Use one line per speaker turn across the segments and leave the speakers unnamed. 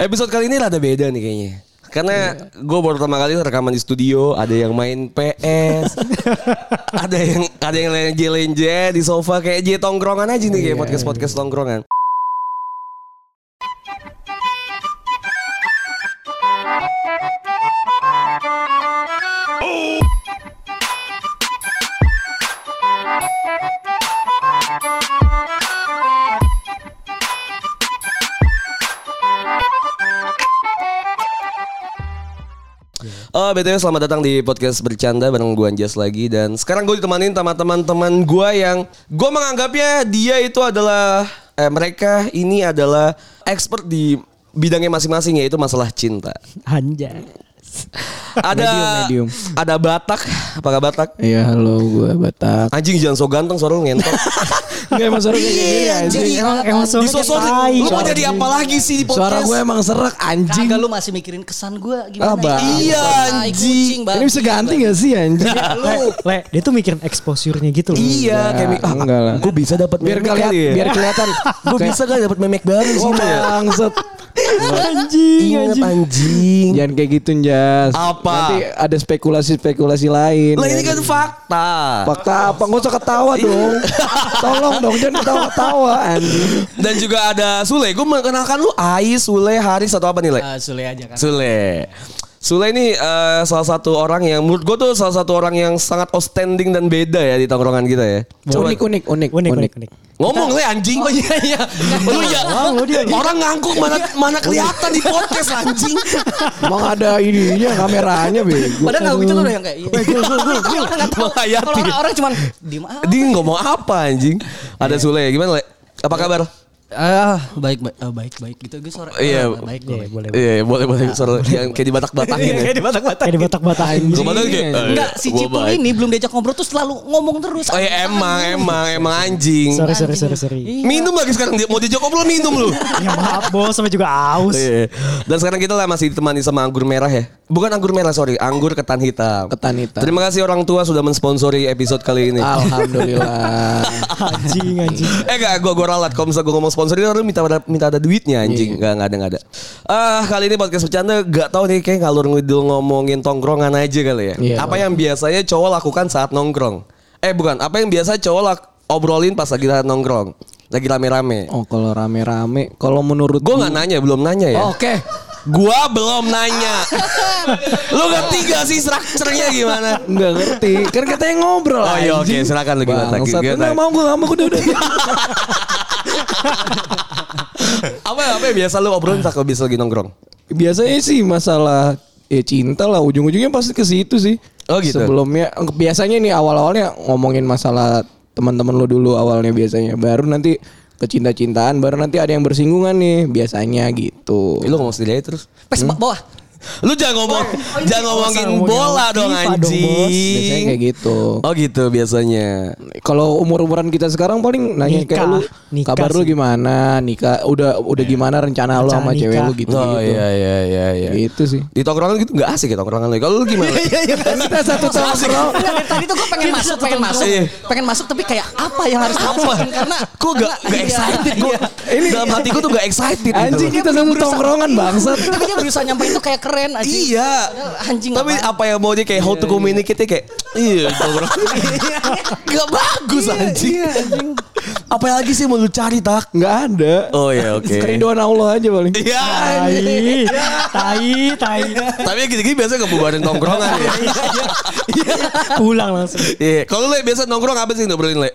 Episode kali ini rada beda nih kayaknya. Karena
Iya.
gue baru pertama kali rekaman di studio, ada yang main PS, ada yang ada yang lenje-lenje di sofa kayak J tongkrongan aja nih
Iya.
kayak podcast-podcast tongkrongan. Oh, BTW selamat datang di podcast bercanda bareng gue Anjas lagi dan sekarang gue ditemanin sama teman-teman gue yang gue menganggapnya dia itu adalah eh, mereka ini adalah expert di bidangnya masing-masing yaitu masalah cinta.
Anjay.
Ada
Medium, medium.
ada Batak, apakah Batak?
Iya, halo gue Batak.
Anjing jangan so ganteng suara lu ngentot.
Enggak emang suara gue kayak gini
Iya,
anjing.
anjing.
Emang emang suara
Di
gue
sosok
tai.
lu mau
Suara-
jadi apa lagi sih di podcast?
Suara gue emang serak anjing.
Kagak lu masih mikirin kesan gue
Ah,
gimana ya?
Bang.
Iya,
Tai
anjing.
kucing, Bang.
Ini bisa ganti gak sih anjing?
Lu
Le, dia tuh mikirin exposure-nya gitu loh.
Iya, kayak ah,
enggak lah.
Gue bisa dapat
Biar
memek
kelihatan,
kali ya.
biar kelihatan.
Gue bisa kali dapat memek baru sih.
Wah,
Mbak.
Bangsat.
Anjing,
Ingat
anjing.
anjing.
Jangan kayak gitu, Jas.
Apa?
Nanti ada spekulasi-spekulasi lain. ya.
Lah ini kan fakta.
fakta apa? Gak usah ketawa
Iya.
dong. Tolong dong, jangan ketawa-tawa anjing.
Dan juga ada Sule. Gue mengenalkan lu Ais, Sule, Haris atau apa nih, Le?
Ah, Sule aja kan.
Sule. Sule ini eh, salah satu orang yang menurut gue tuh salah satu orang yang sangat outstanding dan beda ya di tongkrongan kita ya. Coba
Unik, unik, unik,
Unik, unik, unik.
ngomong le anjing. Oh iya iya. Lu ya.
Ngomong lu dia.
Orang ngangkuk mana mana kelihatan di podcast anjing.
Emang ada ininya kameranya bego.
Padahal kalau
kan,
gitu lu udah yang kayak iya. Nggak tahu.
Menghayati.
Kalau orang-orang cuman diem aja.
Dia ngomong apa anjing? Ada Sule gimana le? Apa kabar?
Ah, baik baik ah, baik baik gitu gue sore.
Iya.
Ah, baik
Iya,
gue.
boleh.
Iya boleh boleh suara yang kayak dibatak-batakin ya.
Kayak di batak-batak anjing.
Kemarin kayak eh,
Iya.
Enggak, si
gua
Cipul
baik.
ini belum diajak ngobrol tuh selalu ngomong terus.
Oh
iya,
ya emang emang emang anjing.
Sorry, sorry, sorry, sorry.
Minum lagi sekarang dia mau diajak ngobrol minum lu.
Ya maaf bos, sama juga aus.
Iya. Dan sekarang kita lah masih ditemani sama anggur merah ya. Bukan anggur merah sorry, anggur ketan hitam.
Ketan hitam. Ah,
Terima kasih orang tua sudah mensponsori episode kali ini.
Alhamdulillah.
Anjing, anjing.
Eh gak, gue gue ralat. Kalau misalnya gue ngomong sponsor itu orang minta ada, minta ada duitnya
Iya.
anjing. Gak, gak ada, gak ada. Ah kali ini podcast bercanda gak tahu nih kayak ngalur ngidul ngomongin tongkrongan aja kali ya.
Iya.
apa yang biasanya cowok lakukan saat nongkrong? Eh bukan, apa yang biasa cowok lak- obrolin pas lagi saat nongkrong? Lagi rame-rame.
Oh kalau rame-rame, kalau menurut
Gue gak nanya, belum nanya ya.
Hmm. Oh, Oke,
Gua belum nanya. Lu ngerti gak sih strukturnya gimana?
nggak ngerti. Kan katanya ngobrol.
Oh iya oke
anjing.
silakan lu gimana?
Bangsat,
Gimana?
nggak mau gue nggak mau udah udah.
Apa apa yang biasa lu obrolin tak kalau bisa lagi nongkrong?
Biasanya sih masalah ya cinta lah ujung-ujungnya pasti ke situ sih.
Oh, gitu.
Sebelumnya biasanya nih awal-awalnya ngomongin masalah teman-teman lo dulu awalnya biasanya. Baru nanti ke cinta-cintaan, baru nanti ada yang bersinggungan nih biasanya gitu.
Lu ngomong sendiri aja terus.
Pes
Hmm.
bawah.
Lu jangan ngomong, jangan ngomongin
ngomongin
bola
FIFA
dong
dong, Bos.
Biasanya
anjing.
kayak gitu.
Oh gitu biasanya.
kalau umur-umuran kita sekarang paling nanya
Nikah.
kayak lu
Nikah
kabar lu
sih.
gimana nikah udah udah gimana rencana, lu
Rencana
sama cewek
nikah.
lu gitu
Iya. oh
gitu
iya iya iya iya.
gitu sih
Di tongkrongan gitu gak asik ya tongkrongan lagi. Kalau lu gimana?
Iya,
Iya, kita satu tongkrong
Enggak, dari tadi tuh gue pengen masuk, pengen masuk,
Iya.
pengen masuk tapi kayak apa yang harus dimasukin karena
Gue gak,
karena-
gak
iya,
excited gue.
iya.
Ini dalam hati gue tuh gak excited. gitu
anjing
loh.
kita satu tongkrongan bangsat
Tapi dia berusaha nyampein tuh kayak keren aja.
Iya.
Anjing
Tapi
apaan?
apa yang mau dia kayak how to communicate nya kayak iya tongkrongan. Gak bagus anjing. Apa yang lagi sih mau lu cari tak?
nggak ada
Oh ya oke.
kerinduan Allah aja paling
Iya.
Tai, tai, tai.
Tapi yang gini-gini biasa kebubarin tongkrongan ya.
Pulang langsung.
Iya. Kalau lu biasa nongkrong apa sih ngobrolin le?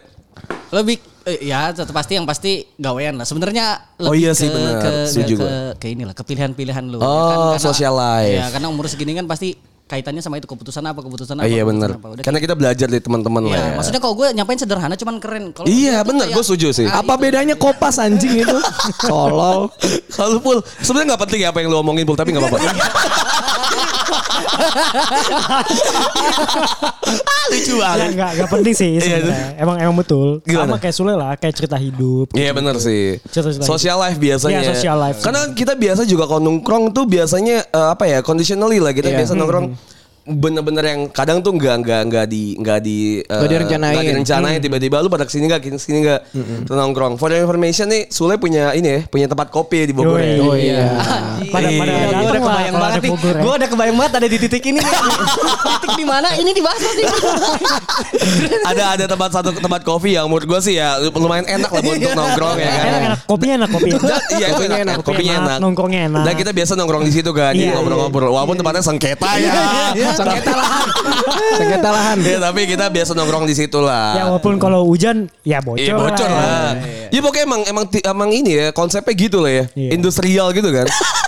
lebih eh, ya tetap pasti yang pasti gawean lah sebenarnya
Oh
lebih
iya sih, benar.
ke
Setuju
ke,
gue.
ke inilah kepilihan-pilihan lu
Oh, social life.
ya karena umur segini kan pasti kaitannya sama itu keputusan apa keputusan
Ah,
apa
iya
keputusan
benar.
apa. Udah
Karena kita belajar dari teman-teman
kayak-
lah
ya,
ya.
maksudnya kalau gue nyampain sederhana cuman keren kalau
Iya benar, gue setuju sih.
Ah,
apa
gitu.
bedanya kopas anjing itu tolol
Kalau pul, sebenarnya nggak penting ya apa yang lu omongin pul, tapi nggak apa-apa. Ah, Lucu
Ya,
banget.
enggak, enggak penting sih
Iya.
sebenarnya. Emang emang betul.
Gimana?
Sama kayak Sule lah, kayak cerita hidup.
Iya benar sih.
Cerita-cerita
Social life biasanya.
Gitu. Iya, social life.
Karena kita biasa juga kalau nongkrong tuh biasanya eh, apa ya conditionally lah kita
Hmm,
Iya.
biasa nongkrong. bener-bener yang kadang tuh nggak nggak nggak di nggak di eh,
Nggak direncanain. Hmm.
nggak direncanain tiba-tiba lu pada kesini nggak kesini nggak
Hmm,
Tuh nongkrong for your information nih Sule punya ini ya punya tempat kopi di Bogor ya.
Yoi.
Oh iya.
Pada pada
Iya,
datang
gue udah
lah
kebayang
kalau
banget
ada
nih.
Bogor ya.
Gue udah kebayang banget ada di titik ini. nih. titik di mana? Ini dibahas pasti.
ada ada tempat satu tempat kopi yang menurut gue sih ya lumayan enak lah buat untuk nongkrong ya kan
Enak enak kopinya enak kopi.
Dan- iya itu
Kopinya
enak,
enak,
kopinya
enak,
enak.
nongkrongnya enak.
Dan kita biasa nongkrong di situ kan, jadi
Iya,
ngobrol-ngobrol. Walaupun tempatnya sengketa ya.
Sengketa lahan. Sengketa lahan.
Iya, tapi kita biasa nongkrong di situ lah.
Ya walaupun kalau hujan ya bocor,
Iya bocor
ya.
lah. Iya pokoknya emang emang ti- emang ini ya konsepnya gitu lah ya.
Iya.
Industrial gitu kan.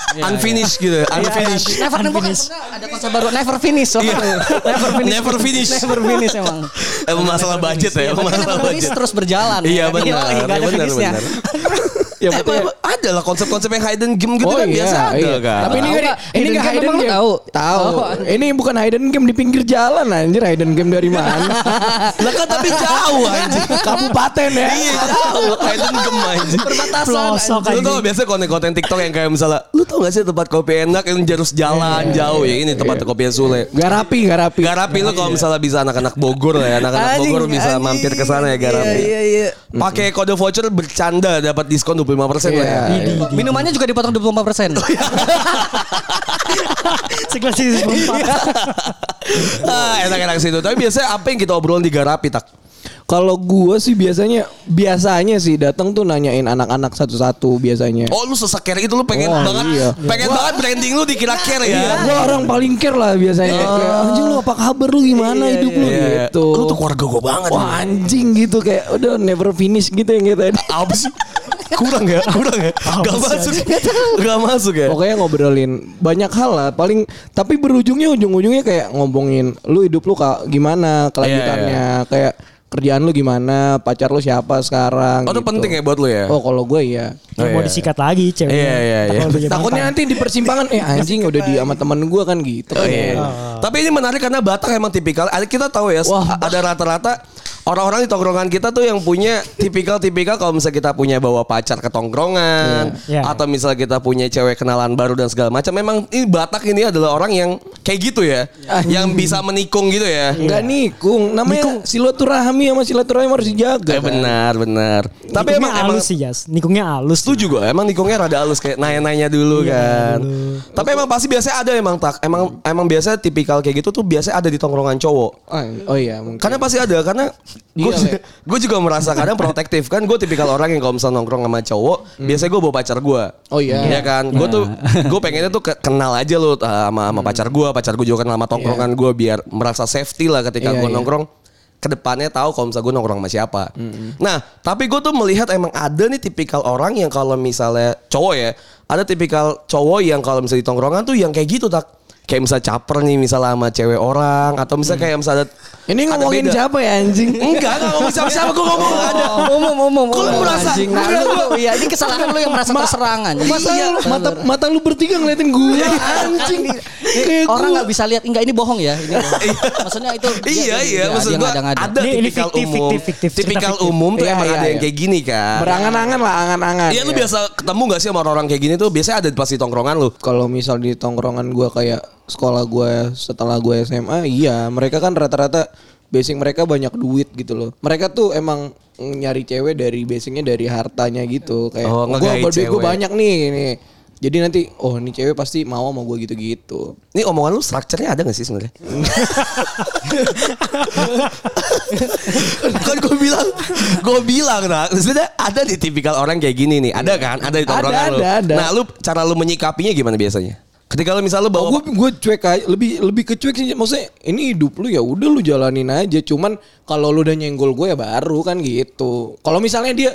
unfinished gitu, unfinished.
Iya.
Never never kan sebenarnya ada konsep baru never finish. soalnya. Never finish.
Iya. Never finish.
Never finish emang.
Emang masalah budget ya, emang
Makanya
masalah
never finish
budget.
terus berjalan.
Iya
ya kan?
benar,
Iya, nggak ada
benar
finishnya.
benar.
Ya,
Emang-
betul. iya,
emang ada lah konsep-konsep yang hidden game gitu kan biasa ada kan.
Oh, Tapi ini
Tahu
kan
nggak? Ini nggak hidden game?
Tahu.
Tahu.
Oh,
Tahu.
Tahu.
Ini bukan hidden game di pinggir jalan anjir hidden game dari mana?
lah kan tapi jauh anjing.
Kabupaten ya.
Iya jauh, hidden game anjing.
Pelosok
Lu tau
aja.
gak biasa konten-konten TikTok yang kayak misalnya Lu tau gak sih tempat kopi enak yang harus
Iya,
jalan jauh ya Ini tempat kopi yang sulit
Garapi, garapi.
Garapi lu
Iya.
kalau misalnya bisa anak-anak Bogor lah ya Anak-anak
Anjing,
Bogor bisa
anjing.
mampir ke sana ya
Iya,
Garapi
Iya iya.
Pakai kode voucher bercanda dapat diskon 25% lah ya
Iya.
Minumannya juga dipotong 25 persen.
Oh, iya.
Sekelas di seperempat.
Ah, Enak-enak situ Tapi biasanya apa yang kita obrolin di Garapi tak?
Kalau gua sih biasanya biasanya sih datang tuh nanyain anak-anak satu-satu biasanya.
Oh lu sesekere itu lu pengen
Oh,
banget
iya.
Pengen banget branding lu dikira care ya
Iya, gua orang paling care lah biasanya. Kayak, anjing lu apa kabar lu gimana hidup lu
Oh. Iya.
gitu.
Lu tuh keluarga gue banget
Wah anjing gitu kayak udah never finish gitu yang kayak tadi.
Apa sih? Kurang ya? Kurang ya? Gak masuk Gak masuk ya?
Pokoknya ngobrolin banyak hal lah paling tapi berujungnya ujung-ujungnya kayak ngomongin lu hidup lu ka- gimana
Iya,
kelanjutannya kayak kerjaan lu gimana pacar lu siapa sekarang
Oh,
gitu.
itu penting ya buat lu ya?
Oh kalau gue ya
Oh,
Ya, mau
iya.
disikat lagi cewek.
Iya, iya, iya.
takutnya nanti di persimpangan eh anjing udah di sama temen gue kan gitu
Oh, iya. Tapi ini menarik karena Batak emang tipikal. ada- Kita tahu ya,
Wah.
ada rata-rata orang-orang di tongkrongan kita tuh yang punya tipikal-tipikal kalau misalnya kita punya bawa pacar ke tongkrongan
Iya. Iya.
atau misalnya kita punya cewek kenalan baru dan segala macam. Memang ini Batak ini adalah orang yang kayak gitu ya, yang bisa menikung gitu ya.
Enggak nikung namanya silaturahmi sama silaturahmi harus dijaga
Eh,
kan.
benar, benar. Tapi emang emang
halus sih Jas. Nikungnya halus.
setuju gue emang nikungnya rada halus kayak nanya-nanya dulu kan tapi emang pasti biasanya ada emang tak emang emang biasa tipikal kayak gitu tuh biasanya ada di tongkrongan cowok
Ah, Oh iya mungkin
Karena pasti ada karena gue
Iya, Le.
gue juga merasa kadang protektif kan gue tipikal orang yang kalau misalnya nongkrong sama cowok biasanya gue bawa pacar gue.
Hmm. Oh iya. Hmm.
Iya kan. Gue tuh gue pengennya tuh ke- kenal aja lo sama sama pacar gue, pacar gue juga kenal sama tongkrongan gue biar merasa safety lah ketika
Iya,
gue
iya.
nongkrong kedepannya tahu kalau misalnya gue nongkrong sama siapa.
Hmm.
Nah tapi gue tuh melihat emang ada nih tipikal orang yang kalau misalnya cowok ya ada tipikal cowok yang kalau misalnya di tongkrongan tuh yang kayak gitu tak kayak misalnya caper nih misalnya sama cewek orang atau
Hmm.
misalnya kayak misalnya ada-
Ini
ada
ngomongin
beda.
siapa ya anjing?
Enggak, enggak ngomong siapa-siapa, gue ngomong ada.
Umum umum.
Kok lu
umum.
merasa-
Anjing,
lu
nah,
bilang
lu- Iya ini kesalahan lu yang merasa terserangan.
Mata,
Iya,
lu, mata,
bener.
mata lu bertiga ngeliatin gue anjing. Kayak
orang
gua.
nggak bisa lihat enggak ini bohong ya ini bohong. maksudnya itu dia-
Iya,
dia-
iya,
dia-
maksud
dia
gue
ngada-ngada.
ada
Ini- ini
tipikal
fiktif,
umum.
fiktif, fiktif, cerita
Tipikal
fiktif.
umum tuh
Iya,
emang
iya,
ada yang
iya.
kayak gini kan.
Berangan-angan lah, angan-angan.
Iya, lu
ya.
biasa ketemu gak sih sama orang-orang kayak gini tuh? Biasanya ada pasti tongkrongan lu.
Kalau misal di tongkrongan gue kayak sekolah gue setelah gue SMA, iya mereka kan rata-rata basic mereka banyak duit gitu loh. Mereka tuh emang nyari cewek dari basicnya dari hartanya gitu. Kayak
Oh,
oh, gue
ngegait
berduit gue
cewek.
banyak nih, nih. Jadi nanti oh ini cewek pasti mau sama gue gitu-gitu.
Ini omongan lu strukturnya ada gak sih sebenarnya? kan gue bilang, gue bilang nah, sebenarnya ada di tipikal orang kayak gini nih, ada kan? Ada di
Ada,
tongkrongan lu.
ada, ada.
Nah, lu cara lu menyikapinya gimana biasanya? Ketika lu misalnya lu bawa
Oh, gue gue cuek aja lebih lebih ke cuek sih maksudnya ini hidup lu ya udah lu jalanin aja cuman kalau lu udah nyenggol gue ya baru kan gitu kalau misalnya dia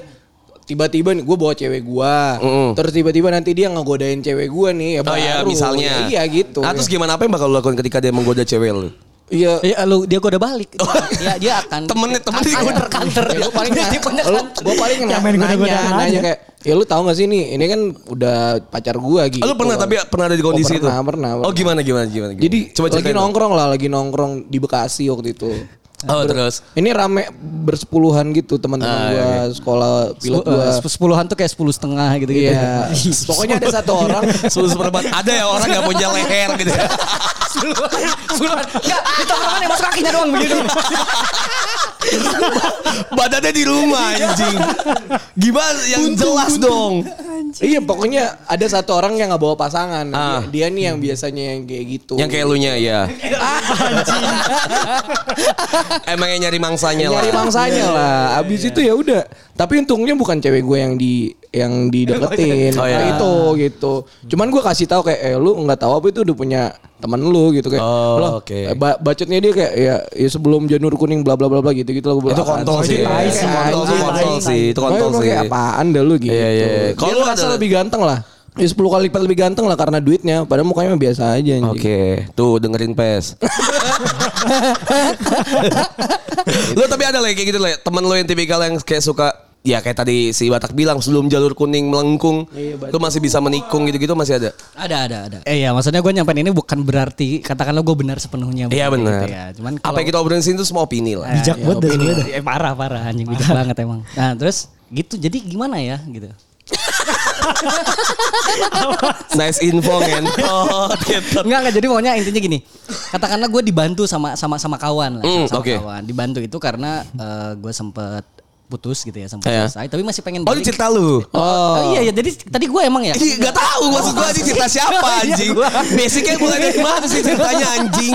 tiba-tiba nih gue bawa cewek gue
Mm-mm.
terus tiba-tiba nanti dia ngegodain cewek gue nih ya
Oh
baru
iya misalnya.
iya gitu
Nah, terus gimana apa yang bakal lu lakukan ketika dia menggoda cewek lu?
iya
Iya, lu dia goda balik. Iya, dia akan
Oh. Temennya- temennya Iya,
kanter
digoda.
kanter.
Ya,
Dia
gue paling
dia tipenya kanter.
gue paling
Yang
nanya,
main
nanya,
goda-godaan aja.
kayak ya lu tahu gak sih nih ini kan udah pacar gua gitu
Lu pernah tapi pernah ada di kondisi
Oh, pernah,
itu?
pernah,
Oh
pernah.
gimana gimana gimana. gimana.
Jadi
coba
lagi
ceritain dong.
nongkrong lah, lagi nongkrong di Bekasi waktu itu.
Oh terus.
Ini rame bersepuluhan gitu teman-teman
Ah,
gua sekolah pilot gua.
eh, Sepuluhan tuh kayak sepuluh setengah gitu
gitu.
ya. gitu-gitu.
Iya. Pokoknya ada satu orang
Sebelum seperempat ada ya orang nggak punya leher gitu. ya.
Sepuluhan. Sepuluhan. Enggak, ditongkrongan yang masuk kakinya doang begitu.
Badannya di rumah anjing. Gimana yang jelas dong.
Iya pokoknya ada satu orang yang nggak bawa pasangan.
Ah.
Dia, dia nih yang biasanya yang kayak gitu.
Yang kayak elunya ya. Emang yang Iya, nyari mangsanya lah.
nyari mangsanya lah. Abis itu ya udah. Tapi untungnya bukan cewek gue yang di yang dideketin
Oh, iya.
Nah, itu gitu. Cuman gue kasih tahu kayak eh, lu nggak tahu apa itu udah punya temen lu gitu kayak.
Oh,
"Loh,
oke.
eh, ba- bacotnya dia kayak ya, ya sebelum janur kuning bla bla bla bla gitu gitu lah. Gua bilang,
Itu
"Apaan
kontol sih.
Kayak
Itu kontol
anjing.
sih, kontol sih. Itu kontol
Makanya gua
sih.
kayak apaan dah lu gitu.
Iya, iya, iya.
Kalau
Kalau
lu
lu
merasa
ada-
lebih ganteng lah. Ya 10 kali lipat lebih ganteng lah karena duitnya. Padahal mukanya mah biasa aja anjing.
Oke, tuh dengerin pes. lo tapi ada lagi kayak gitu lah, temen lo yang tipikal yang kayak suka Ya kayak tadi si Batak bilang sebelum jalur kuning melengkung,
Iya,
lo masih bisa menikung gitu-gitu masih ada.
Ada, ada, ada. Eh, iya, maksudnya gue nyampein ini bukan berarti katakanlah gue benar sepenuhnya.
Iya
Gitu
benar.
ya. Cuman
apa yang gitu? kita obrolin sini itu semua opini
Iya.
lah.
Bijak banget dari gue dah.
Eh, parah, parah. Anjing
Iya
bijak banget emang. Nah, terus gitu. Jadi gimana ya gitu.
nice info kan. Oh, tetep.
Enggak, enggak. Jadi maunya intinya gini. Katakanlah gue dibantu sama sama sama kawan lah.
Hmm,
sama
oke.
kawan. Dibantu itu karena eh, gue sempet putus gitu ya sempat
Iya.
selesai tapi masih pengen
Oh, ini cerita lu.
Oh, iya, iya jadi tadi gue emang ya
Ih, gak tahu maksud gua ini cerita siapa
Iya,
anjing. Basicnya mulai dari mana sih ceritanya anjing.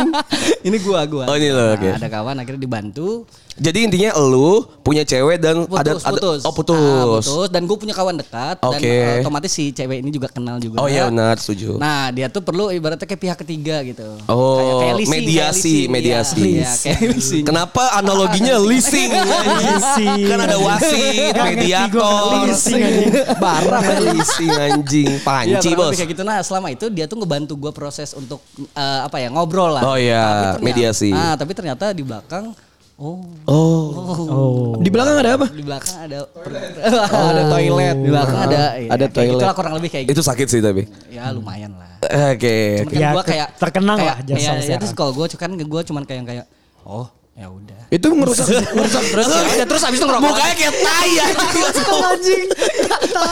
ini gua gua
Oh, ini lo,
Nah,
oke.
ada kawan akhirnya dibantu
Jadi intinya lu punya cewek dan
putus
ada, ada
putus
oh putus.
Ah, putus dan gue punya kawan dekat dan
Oke.
eh, otomatis si cewek ini juga kenal juga
Oh iya benar setuju.
Nah dia tuh perlu ibaratnya kayak pihak ketiga gitu.
Oh,
Kayak- kayak leasing,
mediasi,
kayak leasing.
mediasi.
Iya, Iya, kayak leasing.
Kenapa analoginya leasing?
Leasing.
kan ada wasit,
Gak ngerti gua, Iya
mediator,
leasing anjing.
barang leasing anjing,
Iya,
panci
kurang lebih
bos.
kayak gitu. Nah selama itu dia tuh ngebantu gue proses untuk eh, apa ya ngobrol lah.
Oh iya,
Tapi ternyata-
mediasi.
Nah tapi ternyata di belakang, oh,
Oh,
Oh.
Di belakang ada apa?
di belakang ada
Oh, ada toilet.
Di belakang ada, iya,
ada
kayak
toilet.
gitulah, kurang lebih kayak gitu.
itu sakit sih tapi.
Ya lumayan lah.
Oke.
Cuman kan
Ya,
gua kayak
terkenang
kayak,
lah jasa
Iya, iya,
besar.
terus kalau gue kan gue cuman kayak kayak oh ya udah.
Itu ngerusak ngerusak
Terus ya udah, terus abis itu ngerokok.
Mukanya kayak tai anjing.
Anjing.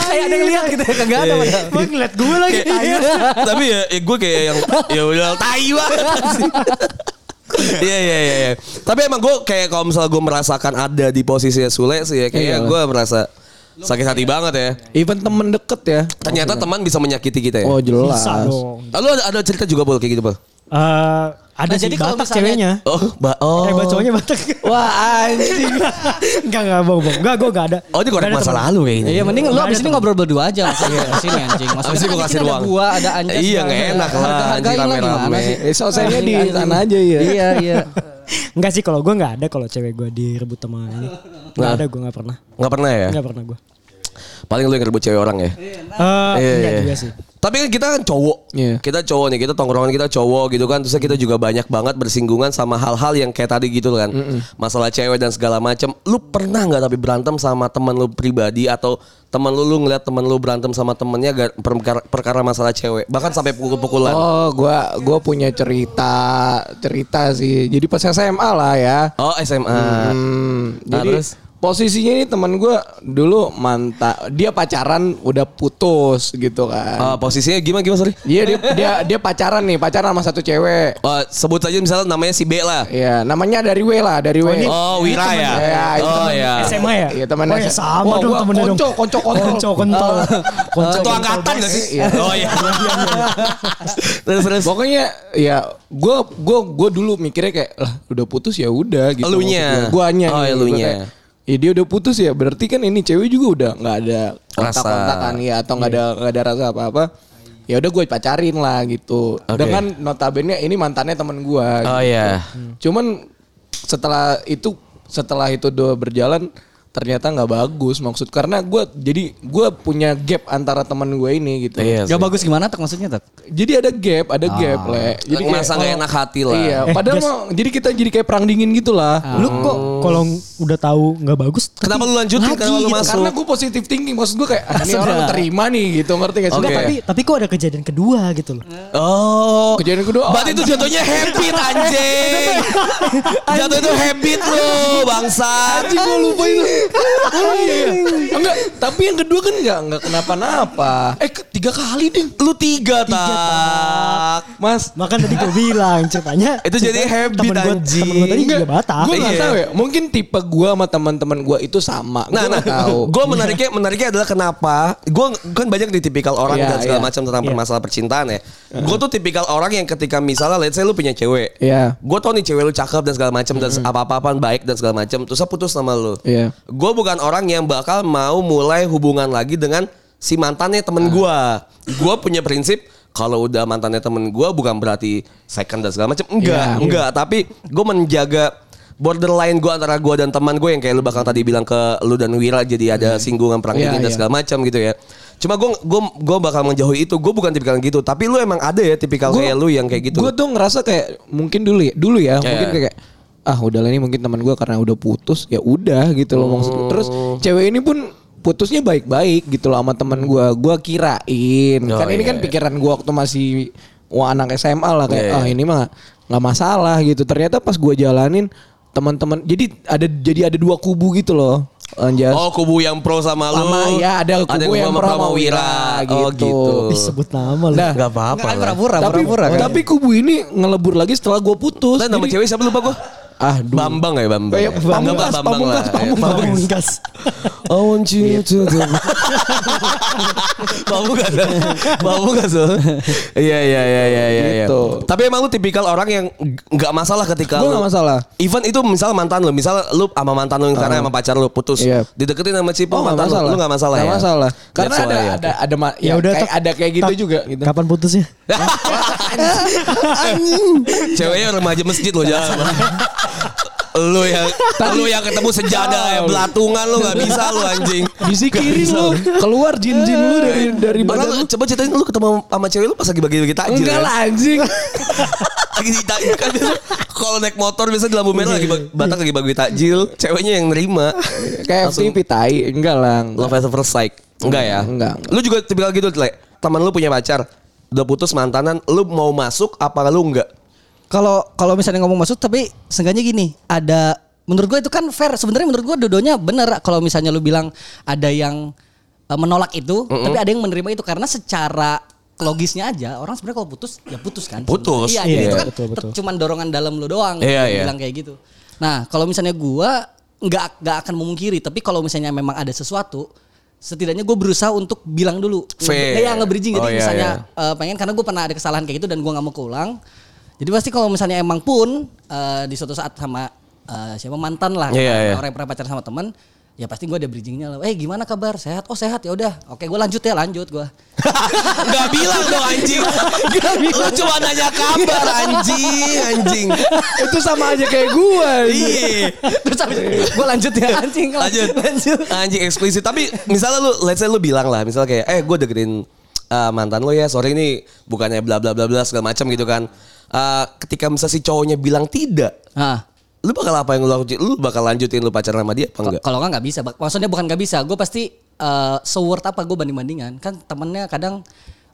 kayak ada yang lihat gitu ya kagak ada. padahal.
Mau Iya. ngeliat gue lagi. Iya.
Kayak- tapi ya, ya gue kayak yang ya udah tai banget sih. Iya iya iya. iya. Tapi emang gue kayak kalau misalnya gue merasakan ada di posisinya Sule sih ya kayak
Iyalah.
gue merasa sakit hati banget ya.
Even temen deket ya.
Ternyata teman bisa menyakiti kita ya.
Oh jelas.
Bisa dong.
Lalu ada, ada cerita juga bol kayak gitu bol.
Eh, ada
Nah,
sih
jadi kalau
Batak
misalnya-
ceweknya.
Oh, ba oh.
Eh, buat cowoknya Batak.
Wah anjing.
Enggak, enggak, bang, bang. Enggak, gue enggak ada.
Oh ini korek
Nggak ada
masa
teman.
lalu kayaknya.
Iya mending lu abis ini ngobrol berdua aja langsung ya sini anjing.
Abis ini gua
kan di
kasih
sini
ruang.
Ada gua, ada anjing.
Iya, nggak enak lah,
Hargain
anjing
lah gimana
rame-rame.
sih?
Eh, selesainya di
Anjing,
sana
anjing.
aja ya.
Iya, iya.
Enggak sih kalau gue enggak ada kalau cewek gue direbut sama ini. Enggak ada gue enggak pernah.
Nggak pernah ya?
Enggak pernah gue.
Paling lu yang ngerebut cewek orang ya?
Eh, enggak juga sih.
Tapi kan kita kan cowok.
Iya.
Kita cowok nih, kita tongkrongan kita cowok gitu kan. Terus kita juga banyak banget bersinggungan sama hal-hal yang kayak tadi gitu kan. Masalah cewek dan segala macam. Lu pernah nggak tapi berantem sama teman lu pribadi atau teman lu lu ngeliat teman lu berantem sama temennya gar- perkara, perkara masalah cewek, bahkan sampai pukul-pukulan.
Oh, gua gua punya cerita cerita sih. Jadi pas SMA lah ya.
Oh, SMA.
Hmm,
Nah,
jadi
terus?
posisinya ini teman gua dulu manta dia pacaran udah putus gitu kan.
Ah, posisinya gimana gimana sorry?
Iya dia dia dia pacaran nih, pacaran sama satu cewek.
Ah, sebut aja misalnya namanya si B lah.
Iya, namanya dari W lah, dari W.
Oh, Wira ya.
Iya, itu
Oh
temen-
ya.
SMA ya?
Iya, teman
Oh ya
SMA.
sama
Wah,
dong
gua
temennya dong.
konco, konco, konco.
Konco kontol. Konco
Satu
kontol.
Ah, angkatan gak sih? Oh iya. terus terus.
Pokoknya ya gua gua gua dulu mikirnya kayak lah udah putus ya udah gitu.
Elunya.
Maksud gua guanya.
Oh,
nih. Gua
elunya.
kayak, Ya dia udah putus ya berarti kan ini cewek juga udah nggak ada kontak-kontakan ya atau nggak
Iya.
ada nggak ada rasa apa-apa. Ya udah gue pacarin lah gitu.
Oke.
Dengan notabene ini mantannya teman gua. gitu. Hmm.
Oh iya.
Cuman setelah itu setelah itu udah berjalan ternyata nggak bagus maksud karena gue jadi gue punya gap antara teman gue ini gitu
Iya.
Gak bagus gimana tak maksudnya tak?
jadi ada gap ada gap
Ah.
le jadi kayak-
Masa nggak enak gitu, hati lah.
iya
Eh,
padahal
Jas.
mau, jadi kita jadi kayak perang dingin gitu lah
Lu kok kalau udah tahu nggak bagus
Kenapa lu lanjutin?
lagi
Kenapa lu
gitu.
masuk?
karena gue positive thinking maksud gue kayak ah, ini
Iya.
Sudah.
orang terima nih gitu ngerti gak sih
Enggak, tapi tapi kok ada kejadian kedua gitu loh.
Oh.
Kejadian kedua, oh,
Berarti itu jatuhnya habit anjing. Jatuh itu habit lu, bangsat.
Anjing gue lupa itu. Oh iya. Enggak, tapi yang kedua kan enggak enggak kenapa-napa. Eh, ke- tiga kali deh.
Lu tiga tak.
Mas,
Makan tadi gue bilang ceritanya.
Itu jadi habit,
temen gua,
anjing.
Temen gue tadi
Enggak,
juga batak.
gue
Iya.
nggak tahu ya. Mungkin tipe gue sama teman-teman gue itu sama. Gue
Nah, nah,
nggak tahu.
gue menariknya menariknya adalah kenapa gue kan banyak di tipikal orang
Iya,
dan segala
iya.
macam tentang
Iya.
permasalahan percintaan ya. Gue tuh tipikal orang yang ketika misalnya, let's say lu punya cewek,
Iya.
gue tau nih cewek lu cakep dan segala macam dan apa-apaan baik dan segala macam, terus saya putus sama lu.
Iya.
Gue bukan orang yang bakal mau mulai hubungan lagi dengan si mantannya
Ah.
temen gue. Gue punya prinsip kalau udah mantannya temen gue bukan berarti second dan segala macam. Enggak,
Iya.
enggak. Tapi gue menjaga borderline gue antara gue dan teman gue yang kayak lu bakal tadi bilang ke lu dan Wira jadi ada singgungan perang
Iya,
dingin dan
iya.
segala macam gitu ya. Cuma gue gue gue bakal menjauhi itu. Gue bukan tipikal yang gitu. Tapi lu emang ada ya tipikal kayak lu yang kayak gitu.
Gue tuh ngerasa kayak mungkin dulu ya, dulu ya, mungkin
iya.
kayak ah udahlah nih mungkin teman gue karena udah putus ya udah gitu loh maksud gua. Terus
Oh.
cewek ini pun putusnya baik-baik gitu loh sama teman gue. Gue kirain
Oh,
kan ini
iya,
kan
iya.
pikiran gue waktu masih wah anak SMA lah kayak
Iya, iya.
ah ini mah nggak masalah gitu. Ternyata pas gue jalanin teman-teman jadi ada jadi ada dua kubu gitu loh. Anjas.
Oh kubu yang pro sama lu.
Sama, ya, ada kubu yang pro sama Wira,
Oh
gitu.
gitu.
Disebut nama lu.
Nah,
Gak apa-apa
Enggak kan
lah.
pura-pura,
tapi
pura-pura kan.
tapi kubu ini ngelebur lagi setelah gue putus.
Lah, nama
Jadi- iya,
cewek siapa lupa gue?
Ah, dulu.
Bambang ya Bambang.
Kayak
Bambang,
Pamungkas,
Bambang
Pamungkas,
lah. Ya,
Pamungkas.
Pamungkas.
I want you to
Gitu.
do. Pamungkas. Pamungkas. loh. Iya iya iya iya iya. iya.
Gitu.
Tapi emang lu tipikal orang yang nggak masalah ketika
Gua
lu
nggak masalah. Ah.
Even itu misal mantan lu, misal lu sama mantan lu karena sama pacar lu putus,
Iya.
dideketin sama cipu
Oh nggak
mantan
masalah.
lu, lu nggak masalah
Nggak
ya.
masalah. Karena
That's
ada
why,
ada ada ma-
Ya udah
kayak,
tak-
ada kayak gitu
tak-
juga gitu.
Kapan putusnya?
Ceweknya remaja masjid lo jangan. lu yang lu yang ketemu sejadah ya belatungan lu nggak bisa lu anjing.
Bisikirin lu keluar jin-jin lu dari dari
Padahal
badan lu.
coba ceritain lu ketemu sama cewek lu pas lagi bagi-bagi takjil.
Enggak
kan?
lah anjing.
Lagi di takjil kan biasa kalau naik motor biasa di lampu merah lagi
Iya.
bag- Batak lagi bagi takjil, ceweknya yang nerima.
Kayak FTP tai, enggak lah.
Love at first sight. Enggak ya?
Enggak.
Lu juga tipikal gitu, Le. Teman lu punya pacar, udah putus mantanan, lu mau masuk apa lu enggak?
Kalau kalau misalnya ngomong maksud tapi seenggaknya gini, ada menurut gue itu kan fair. Sebenarnya menurut gue dodonya bener kalau misalnya lu bilang ada yang eh, menolak itu, tapi ada yang menerima itu karena secara logisnya aja orang sebenarnya kalau putus ya putus kan.
Putus.
Iya, jadi
Iya,
itu kan
betul, betul.
ter- cuman dorongan dalam lu doang
Iya,
yang
iya.
bilang kayak gitu. Nah, kalau misalnya gua nggak nggak akan memungkiri, tapi kalau misalnya memang ada sesuatu setidaknya gue berusaha untuk bilang dulu
Fair.
Nge- ya nge-bridging jadi
Oh, iya,
misalnya
iya.
eh, pengen karena gue pernah ada kesalahan kayak gitu dan gue nggak mau keulang. Jadi pasti kalau misalnya emang pun eh, di suatu saat sama eh, siapa mantan lah
Iya,
eh,
iya.
orang yang pernah pacaran sama teman, ya pasti gue ada bridgingnya lah. Eh gimana kabar? Sehat? Oh sehat ya udah. Oke gue lanjut ya lanjut gue.
Gak bilang dong anjing Lu cuma nanya kabar anjing Anjing
Itu sama aja kayak gua. anjing.
Iya
Terus habis gue lanjut ya anjing
Lanjut
lanjut.
Anjing eksplisit Tapi misalnya lu Let's say lu bilang lah Misalnya kayak Eh gue deketin eh, mantan lo ya Sorry ini Bukannya bla bla bla bla Segala macam gitu kan Eh, Ketika misalnya si cowoknya bilang tidak
Ah.
Lu bakal apa yang lu lakuin Lu bakal lanjutin lu pacaran sama dia apa
Ko-
Oh, enggak
Kalau nggak nggak bisa. Bak- Maksudnya bukan nggak bisa. Gue pasti eh seword apa gue banding bandingan. Kan temennya kadang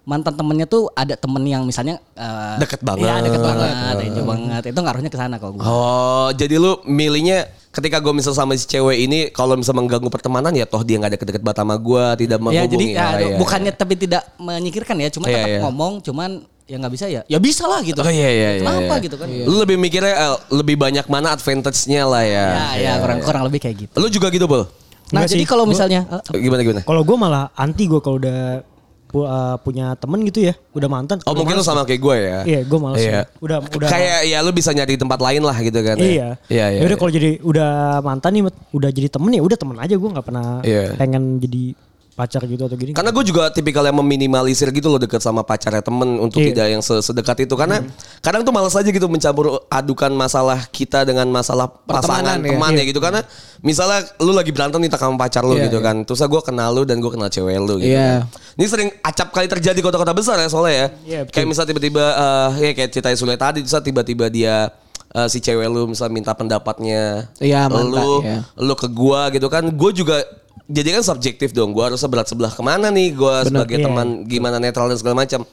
mantan temennya tuh ada temen yang misalnya eh,
Deket banget.
Iya deket banget, enjoy banget. Itu ngaruhnya ke sana kalau gue.
Oh jadi lu milihnya Ketika gue misal sama si cewek ini Kalau misal mengganggu pertemanan Ya toh dia gak deket-deket banget sama gue Tidak
ya
menghubungi
jadi
Ah,
ya,
iya,
bukannya tapi tidak menyingkirkan ya, cuma
Iya,
tetap
iya.
ngomong, cuman ya nggak bisa ya. Ya bisa lah gitu.
Oh iya iya iya.
Kenapa
iya.
gitu kan?
Lu lebih mikirnya eh, lebih banyak mana advantage-nya lah ya.
Ya, ya, kurang kurang lebih kayak gitu.
Lu juga gitu, Bol?
Nah,
Enggak
jadi
sih,
kalau
gua-
misalnya eh,
Gimana gimana?
Kalau gue malah anti gue kalau udah pu- uh, punya temen gitu ya, udah mantan.
Oh,
gua
mungkin lu
males.
sama kayak gue ya.
Iya, gue males.
Iya.
Udah, udah.
Kayak ya lu bisa nyari tempat lain lah gitu kan. ya.
Iya.
Iya, iya.
Ya udah kalau jadi udah mantan nih, udah jadi temen ya udah temen aja gue nggak pernah
Iya. Kan-
pengen jadi pacar gitu atau gini.
Karena gue juga tipikal yang meminimalisir gitu loh deket sama pacarnya temen untuk
Iya.
tidak yang se- sedekat itu
Hmm.
karena kadang tuh malas aja gitu mencampur adukan masalah kita dengan masalah pasangan
Pertemanan ya.
teman ya gitu karena misalnya lu lagi berantem nih sama pacar lu gitu kan terus gue kenal lu dan gue kenal cewek lu gitu. kan.
Iya.
Ini sering acap kali terjadi di kota-kota besar ya soalnya ya.
Iya, betul.
kayak misalnya tiba-tiba eh, ya kayak ceritanya Sule tadi terus tiba-tiba dia eh, si cewek lu misalnya minta pendapatnya
Iya, mantap,
lu
ya.
lu ke gua gitu kan gue juga jadi kan subjektif dong gua harus sebelah sebelah kemana nih gua sebagai
iya.
teman gimana netral dan segala macam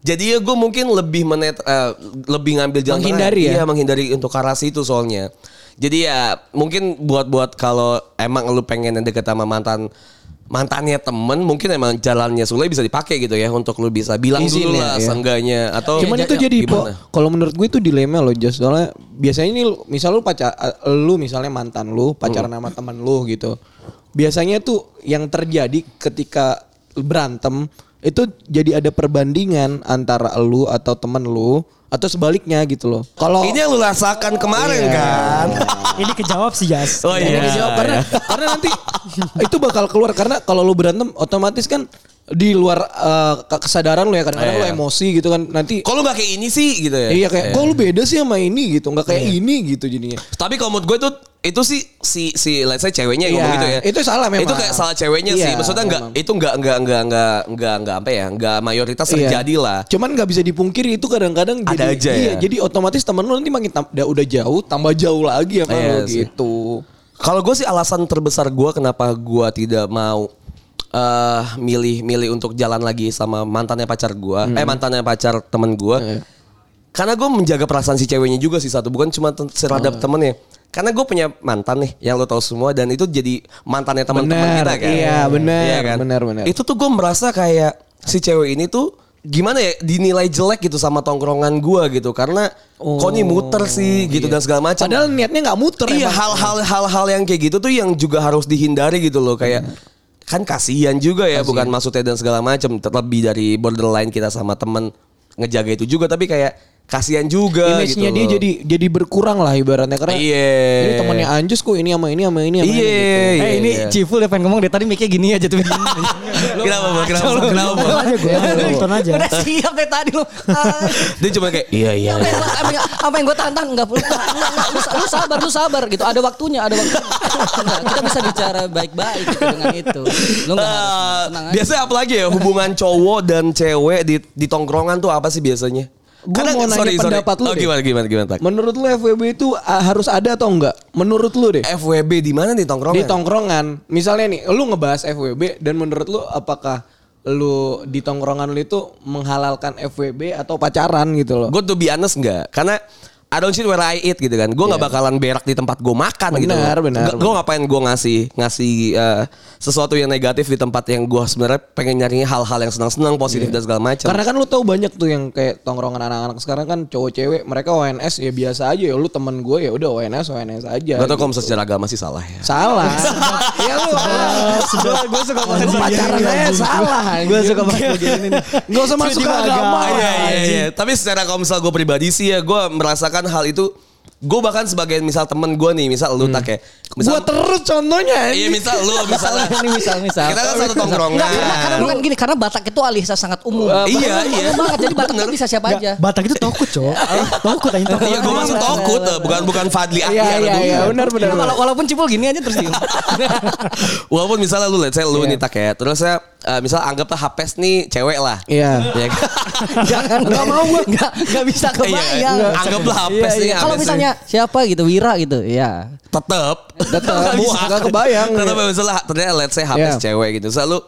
jadi ya gue mungkin lebih menet eh, lebih ngambil jalan tengah.
Menghindari ya?
Iya, menghindari untuk ke arah situ soalnya jadi ya mungkin buat-buat kalau emang lu pengen yang deket sama mantan mantannya temen mungkin emang jalannya Sule bisa dipakai gitu ya untuk lu bisa bilang
Izin
dulu
ya,
lah
iya.
seenggaknya atau Iya,
Cuman itu jadi po,
Gimana?
kalau menurut gue itu dilema loh Jos. Soalnya biasanya ini lu- misal lu pacar eh, lu misalnya mantan lu pacaran sama teman lu gitu. Biasanya tuh yang terjadi ketika berantem itu jadi ada perbandingan antara lu atau temen lu atau sebaliknya gitu loh. Kalau
ini yang lu rasakan kemarin
Iya.
kan
Ini kejawab sih Jas.
oh iya,
Dijawab karena karena nanti itu bakal keluar karena kalau lu berantem otomatis kan di luar eh, ke- kesadaran lu ya kadang-kadang lu
Iya.
emosi gitu kan nanti
kalau nggak kayak ini sih gitu ya Iya.
Iya kayak kok lu beda sih sama ini gitu, nggak kayak ini gitu jadinya.
Tapi kalau menurut gue itu itu sih si si let's say ceweknya yang
Iya,
ngomong gitu ya.
itu salah memang.
Itu kayak salah ceweknya sih.
Iya,
Maksudnya enggak
memang.
itu enggak enggak enggak enggak enggak enggak apa ya? Enggak mayoritas terjadi
Iya.
lah.
Cuman nggak bisa dipungkiri itu kadang-kadang
Ada
jadi
aja
iya,
ya.
jadi otomatis teman lu nanti makin tam- udah, udah jauh tambah jauh lagi sama
Iya
lu
sih.
gitu.
Kalau gue sih alasan terbesar gue kenapa gue tidak mau eh milih-milih untuk jalan lagi sama mantannya pacar gue,
Hmm.
eh mantannya pacar temen gue,
Iya,
karena gue menjaga perasaan si ceweknya juga sih satu, bukan cuma ten- terhadap
Oh.
temennya. Karena gue punya mantan nih, yang lo tahu semua, dan itu jadi mantannya teman-teman
Bener,
kita kan.
iya, bener, bener, bener.
Itu tuh gue merasa kayak si cewek ini tuh gimana ya dinilai jelek gitu sama tongkrongan gue gitu, karena kok nih muter sih gitu dan segala macam.
Oh, iya. Padahal niatnya nggak muter
Iya
emang.
hal-hal hal-hal yang kayak gitu tuh yang juga harus dihindari gitu loh kayak kan kasihan juga ya bukan maksudnya dan segala macam terlebih dari borderline kita sama temen ngejaga itu juga tapi kayak kasihan juga gitu
Image-nya dia
loh.
jadi jadi berkurang lah ibaratnya karena
Iya.
ini temannya anjus kok ini sama ini sama ini sama
Iya.
gitu. ini.
iya,
eh ini
iya.
Ciful ya pengen ngomong dari tadi mic-nya gini aja tuh.
Kenapa, Bang? Kenapa? Kenapa?
Tonton aja gue, tonton Iya, aja.
Udah siap dari tadi lu. Ah.
Dia cuma kayak iya iya.
Apa yang, gua- apa yang- apa yang gue tantang nggak perlu nggak, nggak, nggak, lu, sa- lu sabar lu sabar gitu ada waktunya ada waktunya Nggak, kita bisa bicara baik-baik gitu dengan itu lu nggak harus
Eh,
tenang aja.
biasanya apa lagi ya hubungan cowok dan cewek di di tongkrongan tuh apa sih biasanya?
Gua mau nanya pendapat lu
Oh,
deh.
gimana gimana gimana tak?
Menurut lu FWB itu ah, harus ada atau enggak? Menurut lu deh.
FWB di mana di Eh, tongkrongan?
di tongkrongan misalnya nih lu ngebahas FWB dan menurut lu apakah lu di tongkrongan lu itu menghalalkan FWB atau pacaran gitu loh
Gue tuh be honest nggak, karena I don't shit where I eat gitu kan. Gue nggak bakalan berak di tempat gue makan gitu.
Iya. Benar,
Gue
benar, benar.
ngapain gue ngasih ngasih eh, sesuatu yang negatif di tempat yang gue sebenarnya pengen nyari hal-hal yang senang-senang, positif dan segala macam.
karena kan lu tahu banyak tuh yang kayak tongkrongan anak-anak sekarang kan cowok cewek mereka ONS ya biasa aja ya lu temen gue ya udah ONS ONS aja
Gak tau
gitu.
kalau misalnya secara agama sih salah ya.
salah ya lu
gue suka banget
lu pacaran aja salah gue suka banget nggak usah masuk ke
Tiba-tiba
agama
Ah, iya, iya,
anjing.
iya. Tapi secara kalau misal gue pribadi sih ya, gue merasakan hal itu. Gue bahkan sebagai misal temen gue nih, misal
Hmm.
lu tak ya. Misal,
gue terus contohnya
iya misal lu misalnya.
Ini misal misal
Kita kan satu tongkrongan.
Nggak, karena, karena bukan gini karena Batak itu alisa sangat umum
iya,
Batak itu
iya.
umum banget jadi Batak itu bisa siapa aja
Batak itu tokut, Cok. Eh, Tokut anjing tokut.
Iya gue masuk tokut, eh, bukan bukan Fadli
iya
Akhiar,
iya iya
bukan.
benar benar
Wala- walaupun cipul gini aja terus diem
Walaupun misalnya lu let's say lu
Iya.
nih tak ya. Terus ya eh, misal anggaplah Hapes nih cewek lah.
iya
Ya kan?
jangan nggak mau gue nggak nggak bisa kebayang
Iya, anggaplah Hapes nih.
kalau
Hapes
misalnya siapa gitu Wira gitu ya
nih. tetep
Tetep,
Nggak bisa.
nggak kebayang.
Tetep misalnya ternyata let's say Hapes
Iya.
cewek gitu. Selalu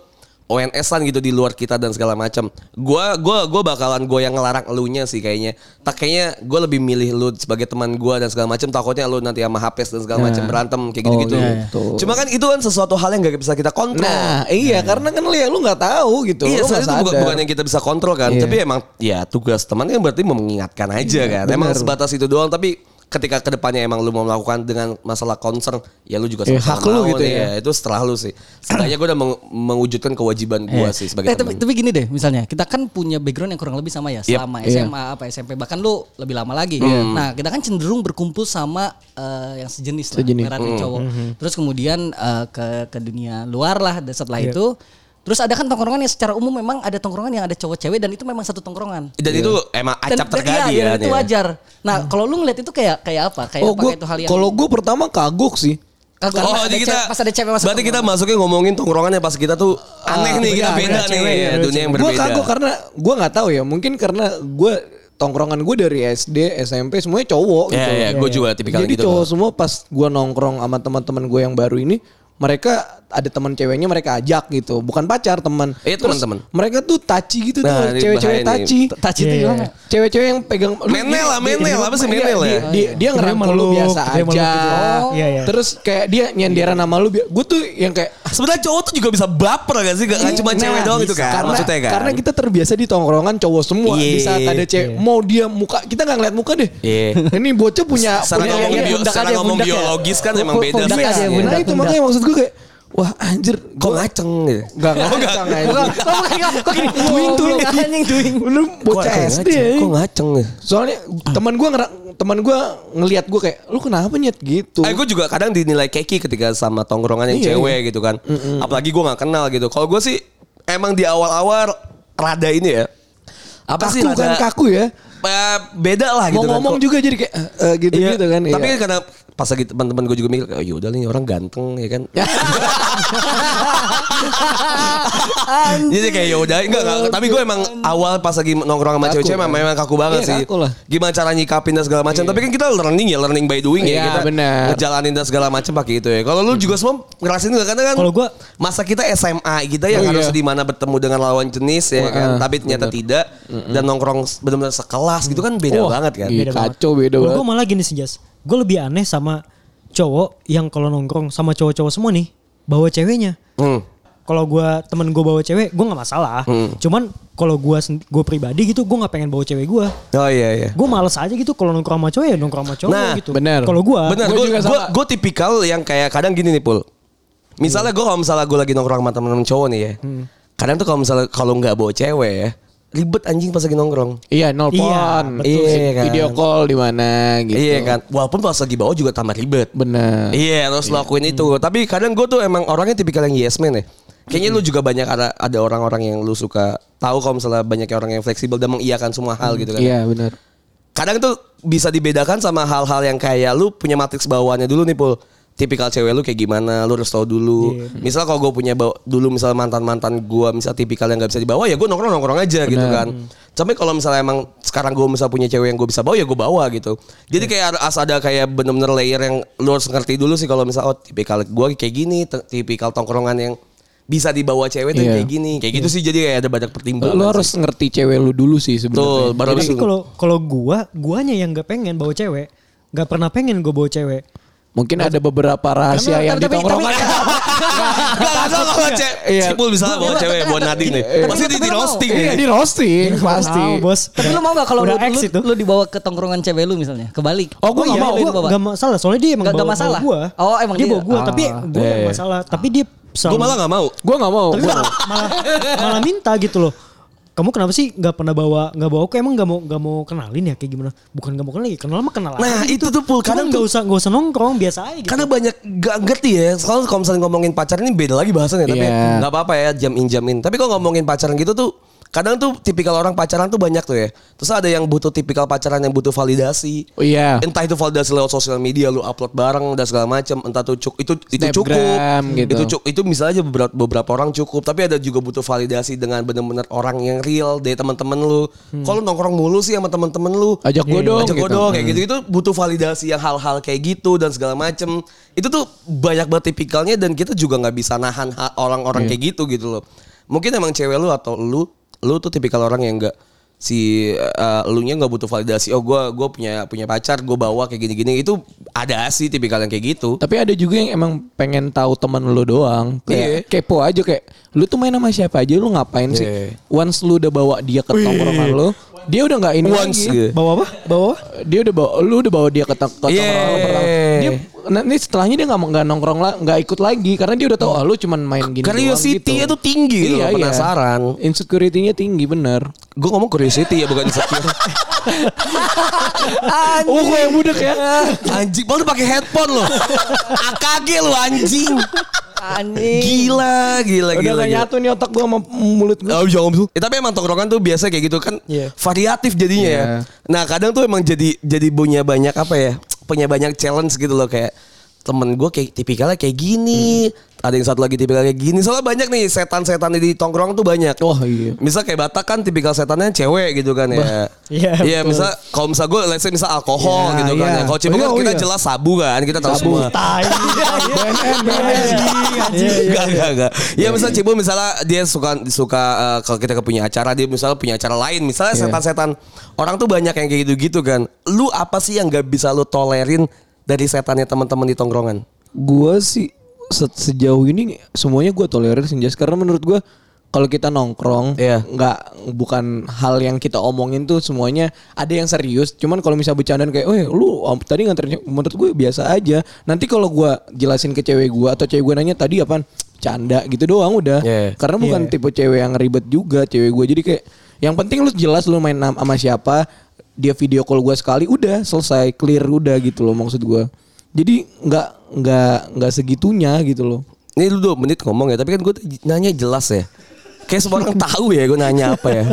ONS-an gitu di luar kita dan segala macam. Gua gua gua bakalan gue yang ngelarang elunya sih kayaknya. Tak kayaknya gue lebih milih lu sebagai teman gua dan segala macam takutnya lu nanti sama Hapes dan segala macam berantem kayak gitu-gitu.
iya, iya. Tuh.
Cuma kan itu kan sesuatu hal yang gak bisa kita kontrol.
Nah, iya karena kan lu ya lu nggak tahu gitu.
Iya,
lu nggak
soalnya itu bukan,
sadar. Iya.
bukan yang kita bisa kontrol kan, tapi emang ya tugas teman kan berarti mengingatkan aja kan. Emang sebatas itu doang, tapi ketika kedepannya emang lu mau melakukan dengan masalah concern, ya lu juga
Eh,
sama-sama
hak lu
mau
gitu
nih,
ya.
Itu setelah lu sih. Setidaknya gue udah meng- mewujudkan kewajiban gue
Iya.
sih sebagai
Eh, tapi,
teman.
tapi gini deh misalnya kita kan punya background yang kurang lebih sama ya
Yep. Hmm.
selama
Iya.
SMA apa SMP bahkan lu lebih lama lagi. Nah kita kan cenderung berkumpul sama eh, yang sejenis lah
Hmm.
Sejenis.
merah dan cowok. Terus kemudian eh, ke ke dunia luar lah dan setelah itu Terus ada kan tongkrongan yang secara umum memang ada tongkrongan yang ada cowok cewek dan itu memang satu tongkrongan.
Dan itu emang acap
iya,
terjadi
dan
ya.
itu wajar. Nah, kalau lu ngeliat itu kayak kayak apa? Kayak
Oh
apa
gue,
kayak itu hal yang
kalau gue pertama kagok sih.
Kalau- karena
Oh,
ada
jadi
cewek-
kita
pas ada cewek masuk.
Berarti kita
tongkrongan.
masuknya ngomongin tongkrongannya pas kita tuh
Ah,
aneh nih, kita Ah, beda,
beda
nih,
cewek,
ya,
beda
dunia yang
Gue
berbeda.
kagok karena gue nggak tahu ya. Mungkin karena gue tongkrongan gue dari SD, SMP semuanya cowok
Ya,
gitu.
ya, gue juga tipikal
Jadi
gitu.
cowok
Bang.
semua pas gua nongkrong sama teman-teman gue yang baru ini, mereka ada teman ceweknya mereka ajak gitu, bukan pacar teman.
Iya,
Terus
teman-teman.
Mereka tuh taci gitu
Nah,
tuh,
ini
cewek-cewek
bahaya nih.
taci.
Touch itu
Iya, iya.
gimana?
Cewek-cewek yang pegang lu-
Menel lah,
dia- dia-
menel. Apa sih
dia-
menel ya?
Dia, dia, dia
Dia
ngerangkul lu
meluk,
biasa
dia meluk
aja.
gitu. Oh. Iya, iya.
Terus kayak dia nyenderan sama lu, gue tuh yang kayak "Nah,
Sebenarnya cowok tuh juga bisa baper gak sih? Gak,
Iya,
gak cuma cewek doang gitu kan?
karena,
maksudnya kan?
karena kita terbiasa di tongkrongan cowok semua
Iya.
di saat ada cewek mau dia muka kita nggak ngeliat muka deh
Iya.
ini bocah punya
Secara
punya-
ngomong
iya,
bio-
pundak
secara
aja,
ngomong
pundak ya.
biologis kan emang beda
Pundak
sih.
aja,
Iya.
pundak. nah itu makanya maksud gue kayak wah anjir
Kok ngaceng gitu?
Gak ngacang
Bukan,
aja
bukan, bukan, kok gini?
Doing, doing.
Goblok, anjing, doing.
Lu bocah SD ya.
Kok ngaceng ya?
Soalnya teman gue ngera- teman gue ngelihat gue kayak lu kenapa nyet gitu.
Eh gue juga kadang dinilai keki ketika sama tongkrongan yang
Iya,
cewek gitu kan. Apalagi gue nggak kenal gitu. Kalau gue sih emang di awal-awal rada ini ya. Apa sih
kaku kan
rada
kaku ya.
eh, beda lah
Mau
gitu kan.
ngomong
Kok-
juga jadi kayak eh, eh, gitu
Iya,
gitu kan.
Tapi
iya.
karena pas lagi teman-teman gue juga mikir, oh yaudah nih orang ganteng ya kan. Jadi kayak yaudah enggak, enggak. Tapi gue emang awal pas lagi nongkrong sama
Kaku,
cewek-cewek emang,
kan?
memang kaku banget
Iya,
sih.
kaku lah.
Gimana cara nyikapin dan segala macam. Tapi kan kita learning ya, learning by doing
Iya,
ya. Kita
benar.
ngejalanin dan segala macam pakai itu ya. Kalau lu juga semua ngerasain enggak karena kan
Kalau gua-
masa kita SMA kita yang
Oh,
gitu ya, harus
iya.
di mana bertemu dengan lawan jenis ya
Wah,
kan.
ah,
Tapi ternyata tidak dan nongkrong benar-benar sekelas gitu kan beda
Wah,
banget kan.
Iya, kacau, beda
Kalau
banget.
gue malah gini sih Jas. Gue lebih aneh sama cowok yang kalau nongkrong sama cowok-cowok semua nih bawa ceweknya.
Hmm.
Kalau gue temen gue bawa cewek, gue nggak masalah.
Hmm.
Cuman kalau gue gue pribadi gitu, gue nggak pengen bawa cewek gue.
Oh iya iya.
Gue males aja gitu kalau nongkrong sama cowok ya nongkrong sama cowok
Nah,
gitu.
bener.
Kalau gue,
Benar,
Gua
gue
juga
gue
sama.
tipikal yang kayak kadang gini nih pul.
Hmm.
Misalnya gue kalau misalnya gue lagi nongkrong sama temen-temen cowok nih ya. Kadang tuh kalau misalnya kalau nggak bawa cewek ya, ribet anjing pas lagi nongkrong.
Iya, nelpon.
Iya, betul
sih.
Video call di mana gitu.
Iya kan. Walaupun pas lagi bawa juga tambah ribet.
Benar.
Iya harus lakuin itu.
Hmm.
Tapi kadang gue tuh emang orangnya tipikal yang yes man ya. Kayaknya
Hmm.
lu juga banyak ada ada orang-orang yang lu suka tahu kalau misalnya banyak orang yang fleksibel dan mengiyakan semua hal gitu kan.
Iya, benar.
kadang tuh bisa dibedakan sama hal-hal yang kayak lu punya matriks bawaannya dulu nih pul tipikal cewek lu kayak gimana lu harus tahu dulu
Iya.
misal kalau gue punya bawa, dulu misal mantan mantan gue misal tipikal yang nggak bisa dibawa ya gue nongkrong nongkrong aja gitu kan tapi kalau misalnya emang sekarang gue misal punya cewek yang gue bisa bawa ya gue bawa gitu jadi
Iya.
kayak ada- as ada kayak bener-bener layer yang lu harus ngerti dulu sih kalau misal oh tipikal gue kayak gini te- tipikal tongkrongan yang bisa dibawa cewek tuh
Iya.
kayak gini kayak gitu sih jadi kayak ada banyak pertimbangan
Lu
sih.
harus ngerti cewek lu dulu sih
kan. betul
sebenarnya.
baru habis
tapi
itu-
kalau kalau gue, guanya yang nggak pengen bawa cewek, nggak pernah pengen gue bawa cewek.
Mungkin ada beberapa rahasia
Tapi-
yang di
tapi-
tongkrongan.
Gak ada lo bawa cewek.
Iya.
Cipul bisa lah bawa
Tapi-
cewek
tapi-
buat Nadine nih.
tapi-
Pasti
tapi-
di di
tapi-
roasting
Iya,
nih.
di roasting
Tahu,
pasti.
bos.
Tapi lu mau gak kalau lu,
Udah
lu,
ex itu?
lu dibawa ke tongkrongan cewek lu misalnya, kebalik?
Oh gue
Lu
gak mau,
lu
gue
dibawa.
gak masalah. Soalnya dia emang
Nggak- nggak masalah?
gue.
Oh, emang
dia.
dia.
bawa gue, tapi gue yang
iya.
masalah. Tapi dia selalu,
Gue malah gak mau.
Gua nggak mau.
tapi
gua
malah, malah, malah minta gitu loh. Kamu kenapa sih gak pernah bawa gak bawa aku emang gak mau gak mau kenalin ya kayak gimana? Bukan gak mau kenalin, kenal mah kenal. aja.
Nah itu tuh pul.
Cuman
Kadang
gak
tuh.
usah gak usah nongkrong biasa aja gitu.
Karena banyak gak ngerti ya. Soalnya kalau misalnya ngomongin pacar ini beda lagi bahasannya. Tapi
Iya.
gak apa-apa ya jam injamin. Tapi kalau ngomongin pacaran gitu tuh. Kadang tuh tipikal orang pacaran tuh banyak tuh ya. Terus ada yang butuh tipikal pacaran yang butuh validasi.
Oh iya.
Entah itu validasi lewat sosial media lu upload bareng dan segala macam. Entah tuh cuk- itu itu
Snapgram,
cukup.
gitu.
Itu cuk- itu misalnya aja beberapa, beberapa orang cukup, tapi ada juga butuh validasi dengan bener-bener orang yang real dari teman-teman lu. Kalau lu nongkrong mulu sih sama teman-teman lu.
Hmm. Ajak gua
Iya,
dong,
Ajak gua
gitu.
dong kayak gitu. Itu butuh validasi yang hal-hal kayak gitu dan segala macem. Itu tuh banyak banget tipikalnya dan kita juga nggak bisa nahan ha- orang-orang kayak gitu gitu loh. Mungkin emang cewek lu atau lu lu tuh tipikal orang yang enggak si eh, elunya nggak butuh validasi oh gua gua punya punya pacar gua bawa kayak gini-gini itu ada sih tipikal yang kayak gitu
Tapi ada juga yang emang pengen tahu teman lu doang. Kayak kepo aja kayak lu tuh main sama siapa aja lu ngapain sih?
Iya.
Once lu udah bawa dia ke tongkrongan lu, dia udah nggak ini
Once,
lagi.
gitu.
Bawa apa? Bawa apa?
Dia udah bawa lu udah bawa dia ke tong- ke
Iya.
tongkrongan lu pertama. Dia nanti setelahnya dia nggak mau- nggak nongkrong lah, nggak ikut lagi karena dia udah tahu ah, lu cuman main gini doang
Hmm.
Iya,
Curiosity-nya tuh tinggi gitu loh, penasaran.
Insecurity-nya tinggi bener.
Gue ngomong curiosity ya bukan insecure.
Oh, gue yang budek ya.
anjing, malu pakai headphone loh. AKG lu anjing.
Anjing.
Gila, gila,
Iya. Udah
gila.
gak
gila.
nyatu nih otak gua sama mulut gua.
Oh, jangan tuh. Ya, tapi emang tongkrongan tuh biasa kayak gitu kan
Iya.
variatif jadinya
Iya.
ya. Nah kadang tuh emang jadi jadi punya banyak apa ya? Punya banyak challenge gitu loh kayak temen gue kayak tipikalnya kayak gini.
Hmm.
Ada yang satu lagi tipikalnya kayak gini. Soalnya banyak nih setan-setan di tongkrong tuh banyak.
Wah iya.
Misal kayak Batak kan tipikal setannya cewek gitu kan ya.
Iya,
Iya,
betul.
misal kalau misal gue let's say misal alkohol
Iya,
gitu kan
iya.
ya. Kalau Cibung
Oh, iya,
kan
oh,
kita
iya.
jelas sabu kan, kita tahu
Sabu.
semua.
Tai.
BNN,
Iya,
Enggak, enggak, enggak. Ya misalnya Cibung misalnya dia suka suka eh, kalau kita punya acara dia misalnya punya acara lain, misalnya
Iya.
setan-setan. Orang tuh banyak yang kayak gitu-gitu kan. Lu apa sih yang gak bisa lu tolerin dari setannya teman-teman di tongkrongan?
Gua sih se- sejauh ini semuanya gua tolerir senjas karena menurut gua kalau kita nongkrong
Iya.
nggak bukan hal yang kita omongin tuh semuanya ada yang serius cuman kalau misalnya bercandaan kayak eh lu am- tadi nganterin menurut gue biasa aja nanti kalau gua jelasin ke cewek gua atau cewek gue nanya tadi apaan canda gitu doang udah
Iya.
karena bukan
Iya.
tipe cewek yang ribet juga cewek gua jadi kayak yang penting lu jelas lu main nam- sama siapa dia video call gua sekali udah selesai clear udah gitu loh maksud gua jadi nggak nggak nggak segitunya gitu loh
Ini lu dua menit ngomong ya, tapi kan gue nanya jelas ya. Kayak semua orang tahu ya gue nanya apa ya.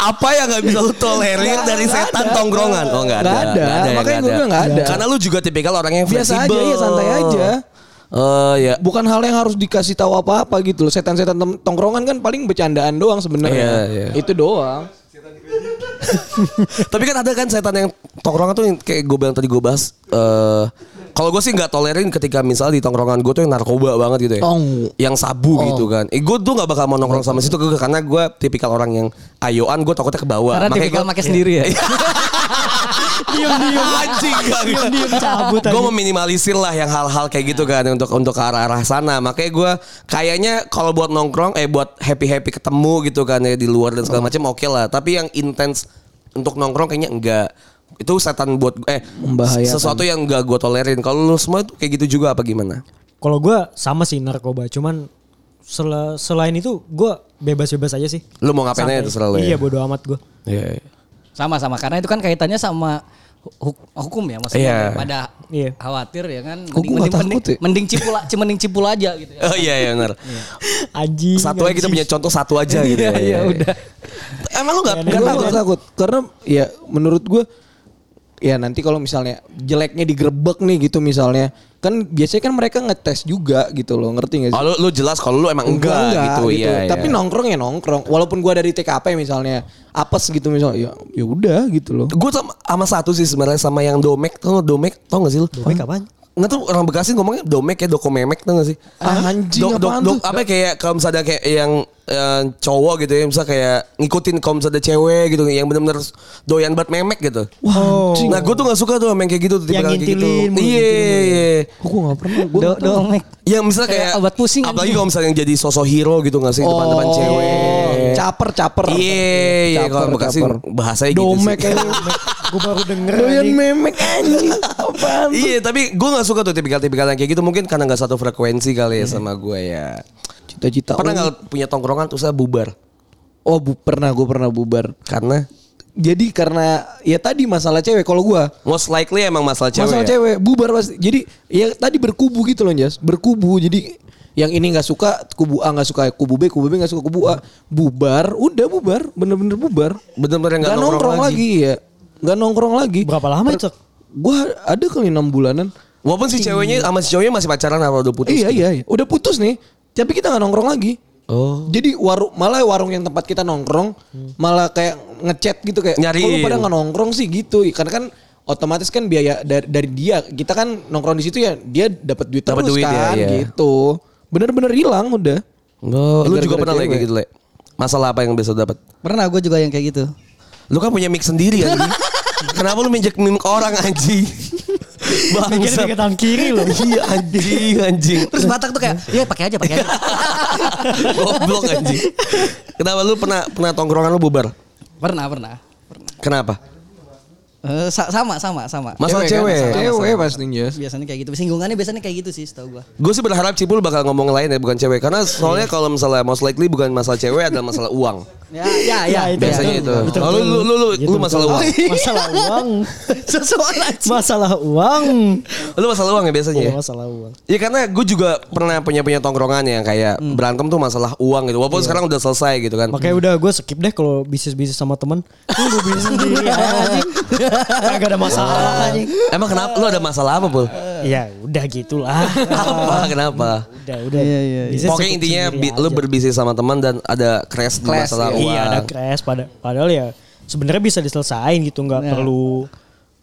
apa yang nggak bisa lu tolerir
Nggak-
dari
nggak
setan
ada.
tongkrongan? Oh nggak ada,
Nggak ada.
ya,
Makanya gua bilang nggak ada.
Karena lu juga tipikal orang yang
Biasa aja,
fleksibel.
iya, santai aja.
Oh ya.
bukan hal yang harus dikasih tahu apa apa gitu loh setan-setan tem- tongkrongan kan paling bercandaan doang
Iya,
sebenarnya
iya.
itu doang
Tapi kan ada kan setan yang tongkrongan tuh yang kayak gue bilang tadi gue bahas. eh kalau gue sih nggak tolerin ketika misal di tongkrongan gue tuh yang narkoba banget gitu ya.
Oh.
Yang sabu gitu kan. Eh, gue tuh nggak bakal mau nongkrong sama situ gua- karena gue tipikal orang yang ayoan gue takutnya ke bawah.
Karena tipikal
gua-
make sendiri ya.
Diam-diam anjing
Diam-diam cabut
Gue
aja.
meminimalisir lah yang hal-hal kayak gitu kan untuk untuk ke arah arah sana. Makanya gue kayaknya kalau buat nongkrong eh buat happy happy ketemu gitu kan ya di luar dan segala macam oke lah. Tapi yang intens untuk nongkrong kayaknya enggak. Itu setan buat eh
Membahayakan.
sesuatu yang enggak gue tolerin. Kalau lu semua itu kayak gitu juga apa gimana?
Kalau gue sama sih narkoba, cuman sel- selain itu gue bebas-bebas aja sih.
Lu mau ngapain aja
Santai.
terserah lu
Iya
ya.
bodo amat gue.
Iya. iya.
Sama-sama karena itu kan kaitannya sama hu- hukum ya
Iya.
maksudnya pada
Iya.
khawatir ya kan
Kok gua
mending
nggak
mending,
takut ya?
mending cipula ci- mending cipul aja gitu ya.
Oh iya iya benar.
Anjing.
Satu aja kita
anjing.
punya contoh satu aja gitu.
Iya, iya, udah.
Emang lu gak,
Gak takut, takut. Karena ya menurut gue ya nanti kalau misalnya jeleknya digerebek nih gitu misalnya kan biasanya kan mereka ngetes juga gitu loh ngerti gak sih?
Oh, lu, lu jelas kalau lu emang enggak, gitu, Iya, iya.
Tapi nongkrong ya nongkrong. Walaupun gua dari TKP misalnya apes gitu misalnya ya ya udah gitu loh.
Gue sama, sama satu sih sebenarnya sama yang domek tau gak domek tau gak sih lu?
Domek apaan?
Nggak tuh orang Bekasi ngomongnya domek ya doko memek tau gak sih?
Ah, anjing,
Dok- dok-
apaan
dok-
tuh?
Apa ya, kayak kalau misalnya ada kayak yang eh, cowok gitu ya misalnya kayak ngikutin kalau misalnya ada cewek gitu yang benar-benar doyan banget memek gitu.
Oh.
Nah gue tuh gak suka tuh sama yang kayak gitu tuh
Yang
tipikal kayak gitu.
ngintilin, mulu
Iya
ngintilin.
iya.
Oh, gua gak pernah. Gua
Do,
nggak tahu.
domek.
Yang misalnya
Kayak
kayak
obat pusing,
Apalagi
anjing.
kalau misalnya yang jadi sosok hero gitu gak sih di depan-depan
Oh,
cewek.
Caper caper.
Iya, iya,
Caper,
kalau Bekasi
caper.
bahasanya gitu
Domek
sih.
kayak
Gue baru denger
doyan
anjing.
memek anjing. Apaan?
Iya tapi gue gak suka tuh tipikal-tipikal yang kayak gitu Mungkin karena gak satu frekuensi kali ya sama gue ya
Cita-cita.
Pernah
lu.
gak punya tongkrongan terus saya bubar
Oh, bu, pernah gue pernah bubar.
Karena
Jadi karena ya tadi masalah cewek kalau gua
most likely emang masalah cewek
masalah
ya?
cewek bubar pasti. Jadi ya tadi berkubu gitu loh Jas, berkubu. Jadi yang ini nggak suka kubu A nggak suka kubu B kubu B nggak suka kubu A bubar udah bubar bener-bener bubar
Bener-bener
nggak
gak,
nongkrong, lagi. ya nggak nongkrong lagi
Berapa lama itu?
gua ada kali enam bulanan
Walaupun si ceweknya sama si cowoknya masih pacaran apa udah putus gitu.
iya iya iya udah putus nih tapi kita nggak nongkrong lagi
Oh. Hmm.
jadi warung malah warung yang tempat kita nongkrong malah kayak ngechat gitu kayak
Nyariin.
"Kok lu pada nggak nongkrong sih gitu karena kan otomatis kan biaya dari, dari dia kita kan nongkrong di situ ya dia dapat duit
Dapat
terus
duit ya,
kan
iya.
gitu bener-bener hilang udah
Oh, Lu juga
Gara-gara
pernah lah kayak
cewek.
gitu Le Masalah apa yang biasa lu dapat
Pernah gue juga yang kayak gitu.
Lu kan punya mic sendiri ya Kenapa lu minjek mic orang anjing
Mikirnya
Bangsa
pakai tangan kiri loh.
Iya anjing anjing
Terus Batak tuh kayak, "Ya pakai aja, pakai aja."
Goblok anjing Kenapa lu pernah pernah tongkrongan lu bubar
pernah, pernah.
Kenapa?
Eh, sa- sama sama sama.
Masalah cewek.
Kan? Cewek pastinya.
Biasanya kayak gitu. Singgungannya biasanya kayak gitu sih setahu gua.
Gue sih berharap Cipul bakal ngomong lain ya bukan cewek karena soalnya kalau misalnya most likely bukan masalah cewek adalah masalah uang.
Ya ya ya.
Ya, itu-
Biasanya Nah, itu.
Betul, Gitu,
Lalu gitu. Oh, lu lu lu, lu masalah uang.
Masalah uang.
Sesuatu aja.
Masalah uang.
Lu masalah uang ya biasanya.
Iya,
ya?
masalah uang.
Iya karena gue juga pernah punya punya tongkrongan yang kayak
Hmm.
berantem tuh masalah uang gitu.
Iya.
Walaupun sekarang udah selesai gitu kan.
Makanya udah gue skip deh kalau bisnis-bisnis sama temen. Lu gue bisnis sendiri anjing. Kagak ada masalah anjing.
Emang kenapa lu ada masalah apa, Pul?
Ya udah gitulah.
apa kenapa?
Udah, udah. Bisnis
Pokoknya
cukup
intinya
sendiri
bi- lu
aja.
berbisnis sama teman dan ada crash di
Clash,
masalah
iya.
uang.
Iya ada crash pada padahal ya sebenarnya bisa diselesain gitu nggak perlu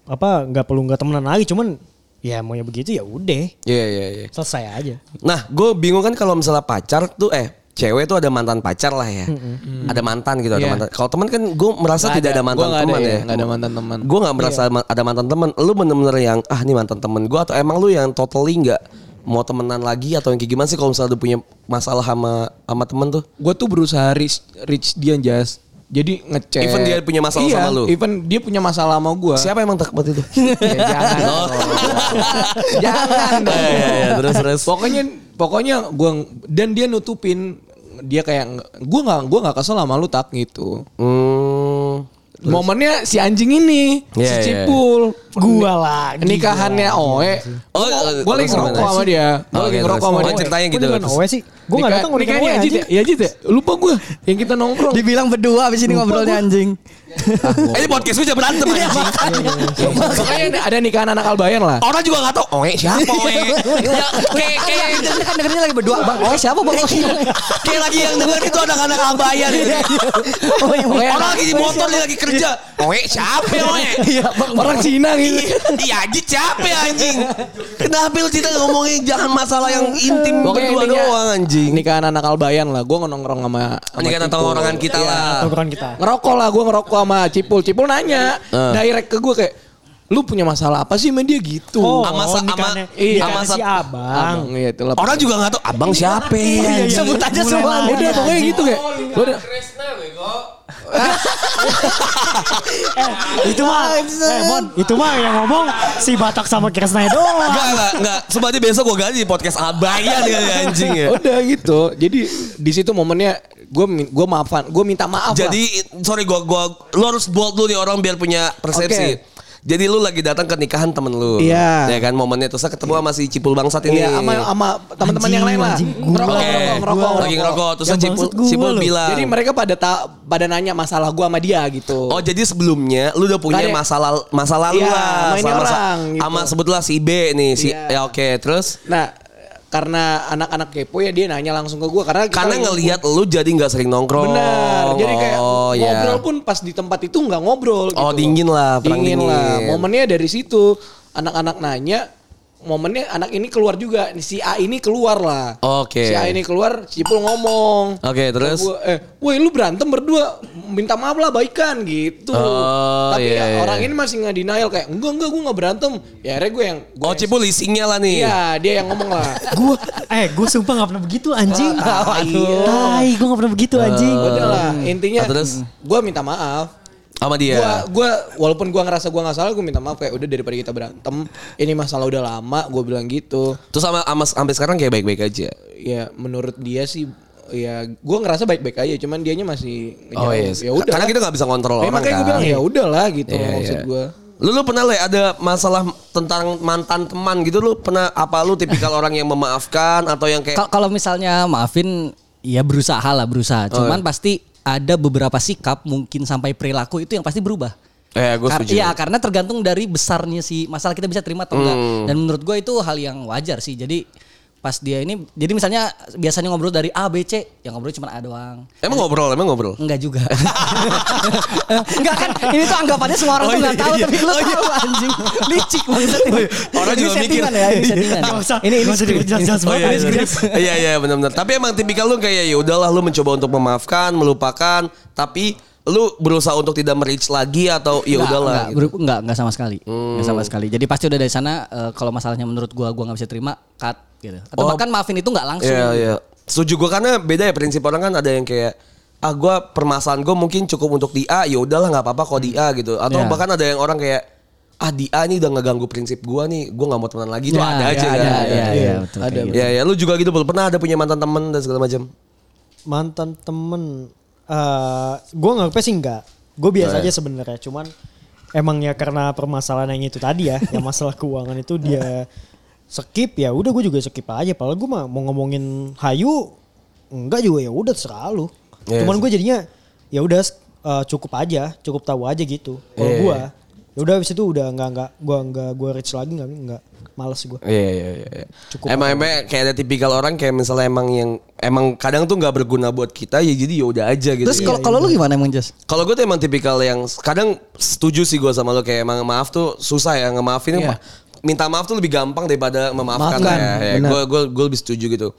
apa nggak perlu nggak temenan lagi cuman ya maunya begitu ya udah
Iya iya iya.
selesai aja.
Nah, gue bingung kan kalau misalnya pacar tuh eh cewek tuh ada mantan pacar lah ya. Ada mantan gitu, ada
Iya.
mantan. Kalau teman kan gue merasa
Nggak
tidak
ada.
ada mantan
Gua nggak ada
teman
ya,
ya.
nggak ada mantan Iya. teman.
Gue nggak merasa ma- ada mantan teman. Lu bener-bener yang ah ini mantan teman gue atau emang lu yang totally nggak mau temenan lagi atau yang kayak gimana sih kalau misalnya udah punya masalah sama sama temen tuh?
Gue tuh berusaha reach, reach dia jas. Jadi ngecek.
Even dia punya masalah
iya,
sama lu?
Even dia punya masalah sama gue.
Siapa emang takut itu?
Ya, jangan.
Oh.
dong. jangan. dong.
Iya, iya, iya. Terus, terus.
Pokoknya pokoknya gue dan dia nutupin dia kayak gue nggak gue nggak kesel sama lu tak gitu.
Hmm.
Momennya si anjing ini,
Iya, iya.
si Cipul.
Gua lagi.
nikahannya Oe.
Oh,
Gue lagi ngerokok sama dia. Gue
Oh,
lagi
iya,
ngerokok
terus.
sama
Oh,
dia.
ceritanya gitu.
Gue
terus.
Owe sih. Gue nggak datang udah
Nikahnya
nikah
Ajit ya?
aja.
Iya Ajit ya? Lupa gue. Yang kita nongkrong.
Dibilang berdua abis ini ngobrolnya anjing.
Eh, ini podcast gue berantem
Iya,
anjing.
Pokoknya ada, ada nikahan anak Albayan lah.
Orang juga gak tau Oe siapa Oe
Iya,
ya, kayak, kayak, Iya.
Dengerin kan dengerinnya lagi berdua. Bang, oh siapa Bang?
kayak lagi yang denger itu anak-anak abayan
Oh, iya.
Oe,
Orang lagi di motor dia lagi kerja Oe siapa ya, Oe
Iya, orang Cina gitu.
Iya anjing siapa ya, anjing Kenapa lu cerita ngomongin Jangan masalah yang intim Berdua
intinya
kan doang anjing
ya. Nikahan anak Albayan lah. Gue nongkrong sama sama
Ini kan
Cipul.
tongkrongan kita lah
Tongkrongan kita.
Ngerokok lah gue ngerokok sama Cipul. Cipul nanya.
Eh.
Direct ke gue kayak lu punya masalah apa sih sama dia gitu.
Oh,
Sama sa- sama-
nikahannya-
iya.
nikahannya
sama
si
sa-
abang. Iya,
Abang, iya itu lah.
Orang juga gak tau Abang siapa
Iya,
ya anjing?
Sebut aja
Mulai
semua.
lah.
Udah pokoknya gitu kayak. Lu udah-
Itu mah, eh, Mon, itu mah yang ngomong si Batak sama Kresna doang.
Enggak, enggak, enggak. Sebabnya besok gue ganti podcast abayan kali ya, anjing ya.
Udah gitu. Jadi di situ momennya gue gue maafan, gue minta maaf. lah.
Jadi sorry gua gua lu harus bold dulu nih orang biar punya persepsi.
Oke.
Jadi lu lagi datang ke nikahan temen lu.
Iya.
Ya kan momennya terus ketemu sama si Cipul Bangsat ini.
Iya, sama sama teman-teman yang lain lah.
Anjing, anjing, gua.
Ngerokok,
Oke.
ngerokok, ngerokok, Iya,
Lagi
ngerokok.
ngerokok terus
Yang
Cipul
bangsat gua
Cipul
lu.
bilang.
Jadi mereka pada ta- pada nanya masalah gue sama dia gitu.
Oh jadi sebelumnya lu udah punya
Tadi-
masa lalu, masa lalu
Iya,
lah
sama ini
sama,
orang, gitu.
sama sebutlah si B nih si
Iya.
ya oke terus
Nah, karena anak-anak kepo ya dia nanya langsung ke gue karena kita
karena
lagi-
ngelihat lu jadi nggak sering nongkrong
Benar. Jadi kayak
oh, iya.
ngobrol pun pas di tempat itu nggak ngobrol. gitu
Oh, dingin lah, perang
dingin,
dingin.
lah. Momennya dari situ anak-anak nanya, momennya anak ini keluar juga. Si A ini keluar lah.
Oke.
Si A ini keluar, Cipul ngomong.
Oke, terus?
Gua, eh, woi lu berantem berdua, minta maaf lah baikan gitu.
Oh, iya,
Tapi ya,
iya.
orang ini masih nggak denial kayak enggak enggak gue nggak berantem. Ya akhirnya gue yang gue
Oh Cipul leasingnya lah nih.
Iya, dia yang ngomong lah.
Gue, eh gue sumpah gak pernah begitu anjing.
Aduh.
Tai, gue gak pernah begitu anjing.
Udah lah, intinya
Ah, terus? Iya.
gue minta maaf.
Sama dia.
Gua, gua walaupun gua ngerasa gua nggak salah, gua minta maaf kayak udah daripada kita berantem. Ini masalah udah lama, gua bilang gitu.
Terus sama, sama sampai sekarang kayak baik-baik aja.
Ya menurut dia sih ya gua ngerasa baik-baik aja, cuman dianya masih
Oh
ngejauh.
iya.
Ya udah.
Karena kita nggak bisa ngontrol
Ya,
orang
makanya
kan.
gua bilang ya udahlah gitu
Iya,
maksud
iya.
gua.
Lu, lu pernah lah ada masalah tentang mantan teman gitu lu pernah apa lu tipikal orang yang memaafkan atau yang kayak
Ka- Kalau misalnya maafin, ya berusaha lah berusaha.
Oh.
Cuman pasti ada beberapa sikap mungkin sampai perilaku itu yang pasti berubah.
eh gue
Kar-
setuju.
Iya karena tergantung dari besarnya si masalah kita bisa terima atau enggak.
Hmm.
Dan menurut gue itu hal yang wajar sih. Jadi pas dia ini, jadi misalnya biasanya ngobrol dari A, B, C, yang ngobrol cuma A doang.
Emang ngobrol, emang ngobrol.
Enggak juga. Enggak kan? Ini tuh anggapannya semua orang
Oh,
tuh
iya,
enggak tahu
iya.
tapi lu tahu anjing. Licik banget.
Orang
ini
juga mikir. Iya.
settingan ya, ini settingan.
Gak usah,
Ini ini
gak usah
script.
dijelas-jelas
Oh
banget.
iya,
Ini
iya,
script.
iya, iya benar-benar. Tapi emang tipikal lu kayak ya udahlah lu mencoba untuk memaafkan, melupakan, tapi lu berusaha untuk tidak merich lagi atau ya udahlah.
Enggak, enggak,
gitu. Hmm.
beru- enggak, enggak sama sekali. Enggak sama sekali. Jadi pasti udah dari sana eh, kalau masalahnya menurut gua gua nggak bisa terima, cut gitu. Atau
Oh.
bahkan maafin itu enggak langsung.
Iya, iya. Setuju gue karena beda ya prinsip orang kan ada yang kayak ah gue permasalahan gue mungkin cukup untuk di A ya udahlah nggak apa-apa kok di A gitu atau
Iya.
bahkan ada yang orang kayak ah di A nih udah ngeganggu prinsip gue nih gue nggak mau temenan lagi tuh
Ya,
ada
ya,
aja
ada,
kan
ya, ya, betul,
Ada.
kayak gitu.
ya ya lu juga gitu Bul. pernah ada punya mantan temen dan segala macam
mantan temen eh gue nggak sih enggak gue biasa
ya?
aja sebenarnya cuman emang ya karena permasalahan yang itu tadi ya yang masalah keuangan itu dia skip ya udah gue juga skip aja padahal gue mah mau ngomongin hayu enggak juga ya udah terserah lu
Iya,
cuman
sih.
gue jadinya ya udah eh, cukup aja cukup tahu aja gitu kalau
Iya.
gue ya udah abis itu udah enggak enggak gue enggak gue reach lagi enggak enggak males gue
Iya iya iya. iya. Emang emang kayak ada tipikal orang kayak misalnya emang yang emang kadang tuh nggak berguna buat kita ya jadi ya udah aja gitu.
Terus
ya.
kalau kalau lu gimana emang Jas?
Kalau gue tuh emang tipikal yang kadang setuju sih gue sama lo kayak emang maaf tuh susah ya ngemaafin
Iya.
minta maaf tuh lebih gampang daripada memaafkan
Maafkan,
ya.
benar.
Gue gue lebih setuju gitu.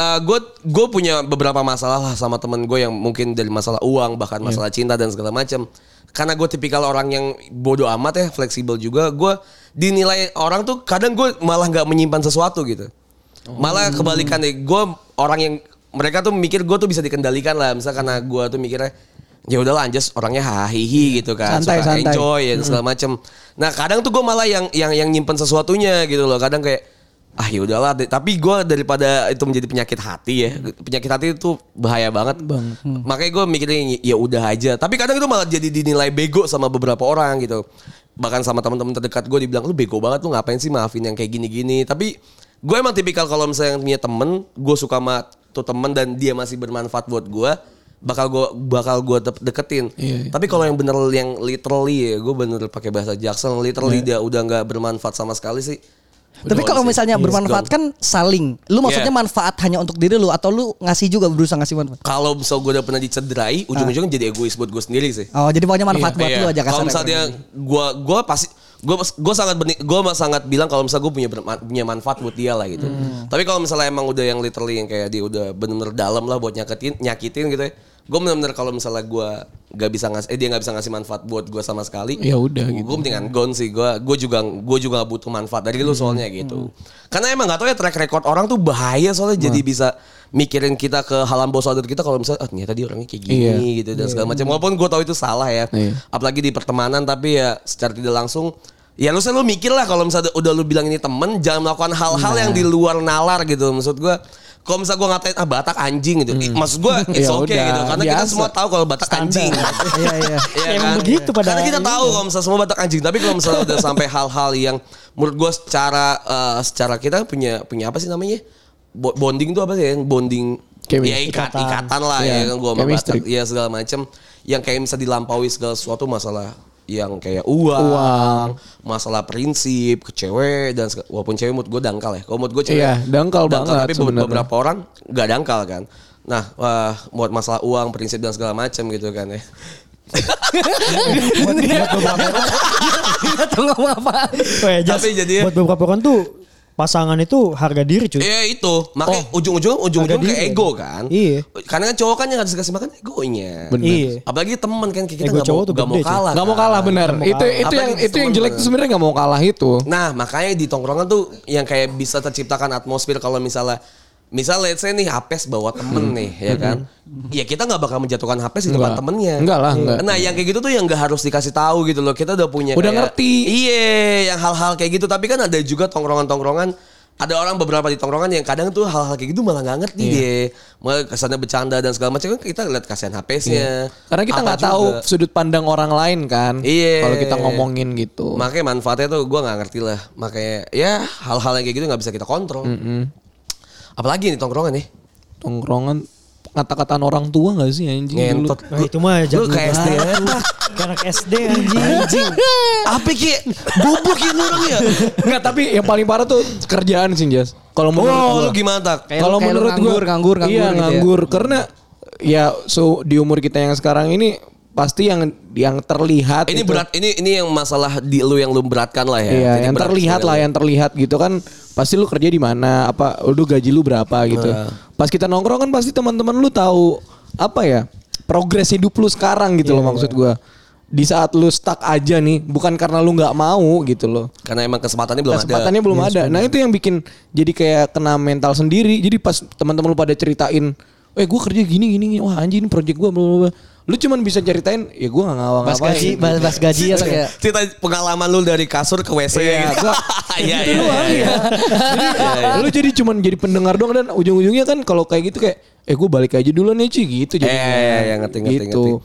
gue gue punya beberapa masalah lah sama temen gue yang mungkin dari masalah uang
Iya.
bahkan masalah cinta dan segala macam. Karena gue tipikal orang yang bodoh amat ya, fleksibel juga. Gue dinilai orang tuh kadang gue malah nggak menyimpan sesuatu gitu. Malah kebalikan deh, gue orang yang mereka tuh mikir gue tuh bisa dikendalikan lah. Misal karena gue tuh mikirnya ya udahlah anjas orangnya hahihi gitu kan
Santai, Hmm.
suka
santai.
enjoy ya segala macem. Nah kadang tuh gue malah yang yang yang nyimpen sesuatunya gitu loh. Kadang kayak ah ya udahlah. deh." Tapi gue daripada itu menjadi penyakit hati ya. Penyakit hati itu bahaya banget.
hmm.
Makanya gue mikirnya ya udah aja. Tapi kadang itu malah jadi dinilai bego sama beberapa orang gitu. Bahkan sama teman-teman terdekat gue dibilang lu bego banget lu ngapain sih maafin yang kayak gini-gini. Tapi gue emang tipikal kalau misalnya yang punya temen, gue suka sama tuh temen dan dia masih bermanfaat buat gue bakal gue bakal gue deketin. Tapi kalau yang bener yang literally ya, gue bener pakai bahasa Jackson literally dia udah nggak bermanfaat sama sekali sih.
Tapi
Gone
kalau
sih. Iya,
misalnya
Yes,
bermanfaat
gone.
kan saling.
Iya.
Lu maksudnya
Yeah.
manfaat hanya untuk diri lu atau lu ngasih juga berusaha ngasih manfaat?
kalau misal gue udah pernah dicederai, ujung-ujungnya jadi egois buat gue sendiri sih.
Oh, jadi pokoknya manfaat buat
Iya.
lu aja
Kalau
kasarnya.
misalnya gue gue pasti gue gue sangat gue sangat bilang kalau misalnya gue punya berma- punya manfaat buat dia lah gitu.
Hmm.
Tapi kalau misalnya emang udah yang literally yang kayak dia udah bener-bener dalam lah buat nyakitin nyakitin gitu ya. Gue bener-bener kalau misalnya gue gak bisa ngasih eh dia gak bisa ngasih manfaat buat gue sama sekali.
Ya udah gitu.
Gue mendingan gone sih gue gue juga gue juga gak butuh manfaat dari
Hmm.
lu soalnya gitu. Karena emang gak tau ya track record orang tuh bahaya soalnya jadi bisa mikirin kita ke halam bawah sadar kita kalau misalnya ah, ternyata dia orangnya kayak gini
Iya.
gitu dan segala macam. Walaupun gue tahu itu salah ya,
Iya.
apalagi di pertemanan tapi ya secara tidak langsung ya lu selalu mikir lah kalau misalnya udah lu bilang ini temen jangan melakukan hal-hal
Iya.
yang di luar nalar gitu maksud gue kalau misalnya gue ngatain ah Batak anjing gitu I- maksud gue it's
Ya
okay
udah,
gitu karena kita
biasa.
semua tahu kalau Batak anjing
iya iya
Iya
emang
kan?
begitu pada
Karena kita tahu kalau misalnya semua batak anjing, tapi kalau misalnya udah sampai hal-hal yang menurut gue secara eh, secara kita punya punya apa sih namanya? Bo- bonding tuh apa sih? ya? Yang bonding
Chemistry.
ya ikat,
Ikatan.
ikatan lah
Iya,
ya kan gua sama
chemistry.
Batak. Iya segala macam yang kayak bisa dilampaui segala sesuatu masalah yang kayak uang,
Uang.
masalah prinsip ke cewek dan seg- walaupun cewek mood gue dangkal ya. Kalau mood gue cewek
Iya, dangkal banget
Tapi be-
sebenarnya.
beberapa orang nggak dangkal kan. Nah, wah, buat masalah uang, prinsip dan segala macam gitu kan ya.
Iya.
Atau ngomong apa?
Weh, ya, Jas,
Tapi jadi-
buat beberapa orang tuh pasangan itu harga diri cuy.
Iya itu, makanya ujung-ujung ujung-ujung ke
Ada dia.
ego kan.
Iya.
Karena kan cowok kan yang harus dikasih makan egonya.
Bener.
Iya.
Apalagi teman kan kayak kita
Ego
nggak mau
cowok tuh
nggak mau
gede, cuy.
kalah.
Nggak mau
kan.
kalah bener.
Nggak mau
Itu
kalah.
itu yang
Apalagi
itu yang
temen
jelek
bener.
tuh sebenarnya nggak mau kalah itu.
Nah, makanya di tongkrongan tuh yang kayak bisa terciptakan atmosfer kalau misalnya Misal let's say nih Hapes bawa temen nih ya kan. Ya kita nggak bakal menjatuhkan Hapes di depan
Hmm. Nggak.
temennya.
Nggak lah,
Iya.
nggak.
Nah yang kayak gitu tuh yang nggak harus dikasih tahu gitu loh. Kita udah punya
Udah
kayak-
ngerti.
Iya yang hal-hal kayak gitu. Tapi kan ada juga tongkrongan-tongkrongan. Ada orang beberapa di tongkrongan yang kadang tuh hal-hal kayak gitu malah nggak
Iya.
ngerti deh. Malah kesannya bercanda dan segala macam. Kan Kita lihat kasihan Hapesnya.
Iya. Karena kita
Apa
nggak tahu
juga.
sudut pandang orang lain kan.
Iya.
Kalau kita ngomongin gitu.
Makanya manfaatnya tuh gue nggak ngerti lah. Makanya ya hal-hal yang kayak gitu nggak bisa kita kontrol. Apalagi nih tongkrongan nih.
Tongkrongan kata-kataan orang tua nggak sih anjing dulu?
Ngentot.
Nah, itu mah
Lu
jago
kayak SD
banget.
ya. Iya,
Anak SD anjing.
Anjing. Apa ki? Bubuk ini orang ya.
Enggak, tapi yang paling parah tuh kerjaan sih, Jas. Kalau menurut
Wow,
gua.
Oh, lu gimana tak?
Oh, Kayak
Kalau
lu- kayak lu
menurut gue
nganggur, nganggur, nganggur
Iya,
gitu ya.
nganggur karena ya so di umur kita yang sekarang ini pasti yang yang terlihat
Ini
itu-
ya?
berat, ini ini yang masalah di lu yang lu beratkan lah ya.
gitu. Iya,
Ini
yang
berat
terlihat lah,
sebenarnya.
yang terlihat gitu kan. Pasti lu kerja di mana, apa lu gaji lu berapa gitu.
Iya.
Pas kita nongkrong kan pasti teman-teman lu tahu apa ya? Progres hidup lu sekarang gitu
Iya,
loh maksud gua. Di saat lu stuck aja nih, bukan karena lu nggak mau gitu loh.
Karena emang kesempatannya belum ada.
Kesempatannya belum ada. Nah, itu yang bikin jadi kayak kena mental sendiri. Jadi pas teman-teman lu pada ceritain eh gue kerja gini gini gini. wah anjing ini project gue bla bla bla. Lu cuman bisa ceritain ya gue gak ngawang
Bas
ngapain.
gaji, bas, bas
Iya.
gaji atau kayak
Cerita pengalaman lu dari kasur ke WC
Iya,
gitu.
gua-
Iya,
Itu doang ya. Jadi, lu jadi cuman jadi pendengar doang dan ujung-ujungnya kan kalau kayak gitu kayak eh gue balik aja dulu nih Ci gitu
Iya, iya, iya, iya, ngerti, ngerti,
gitu.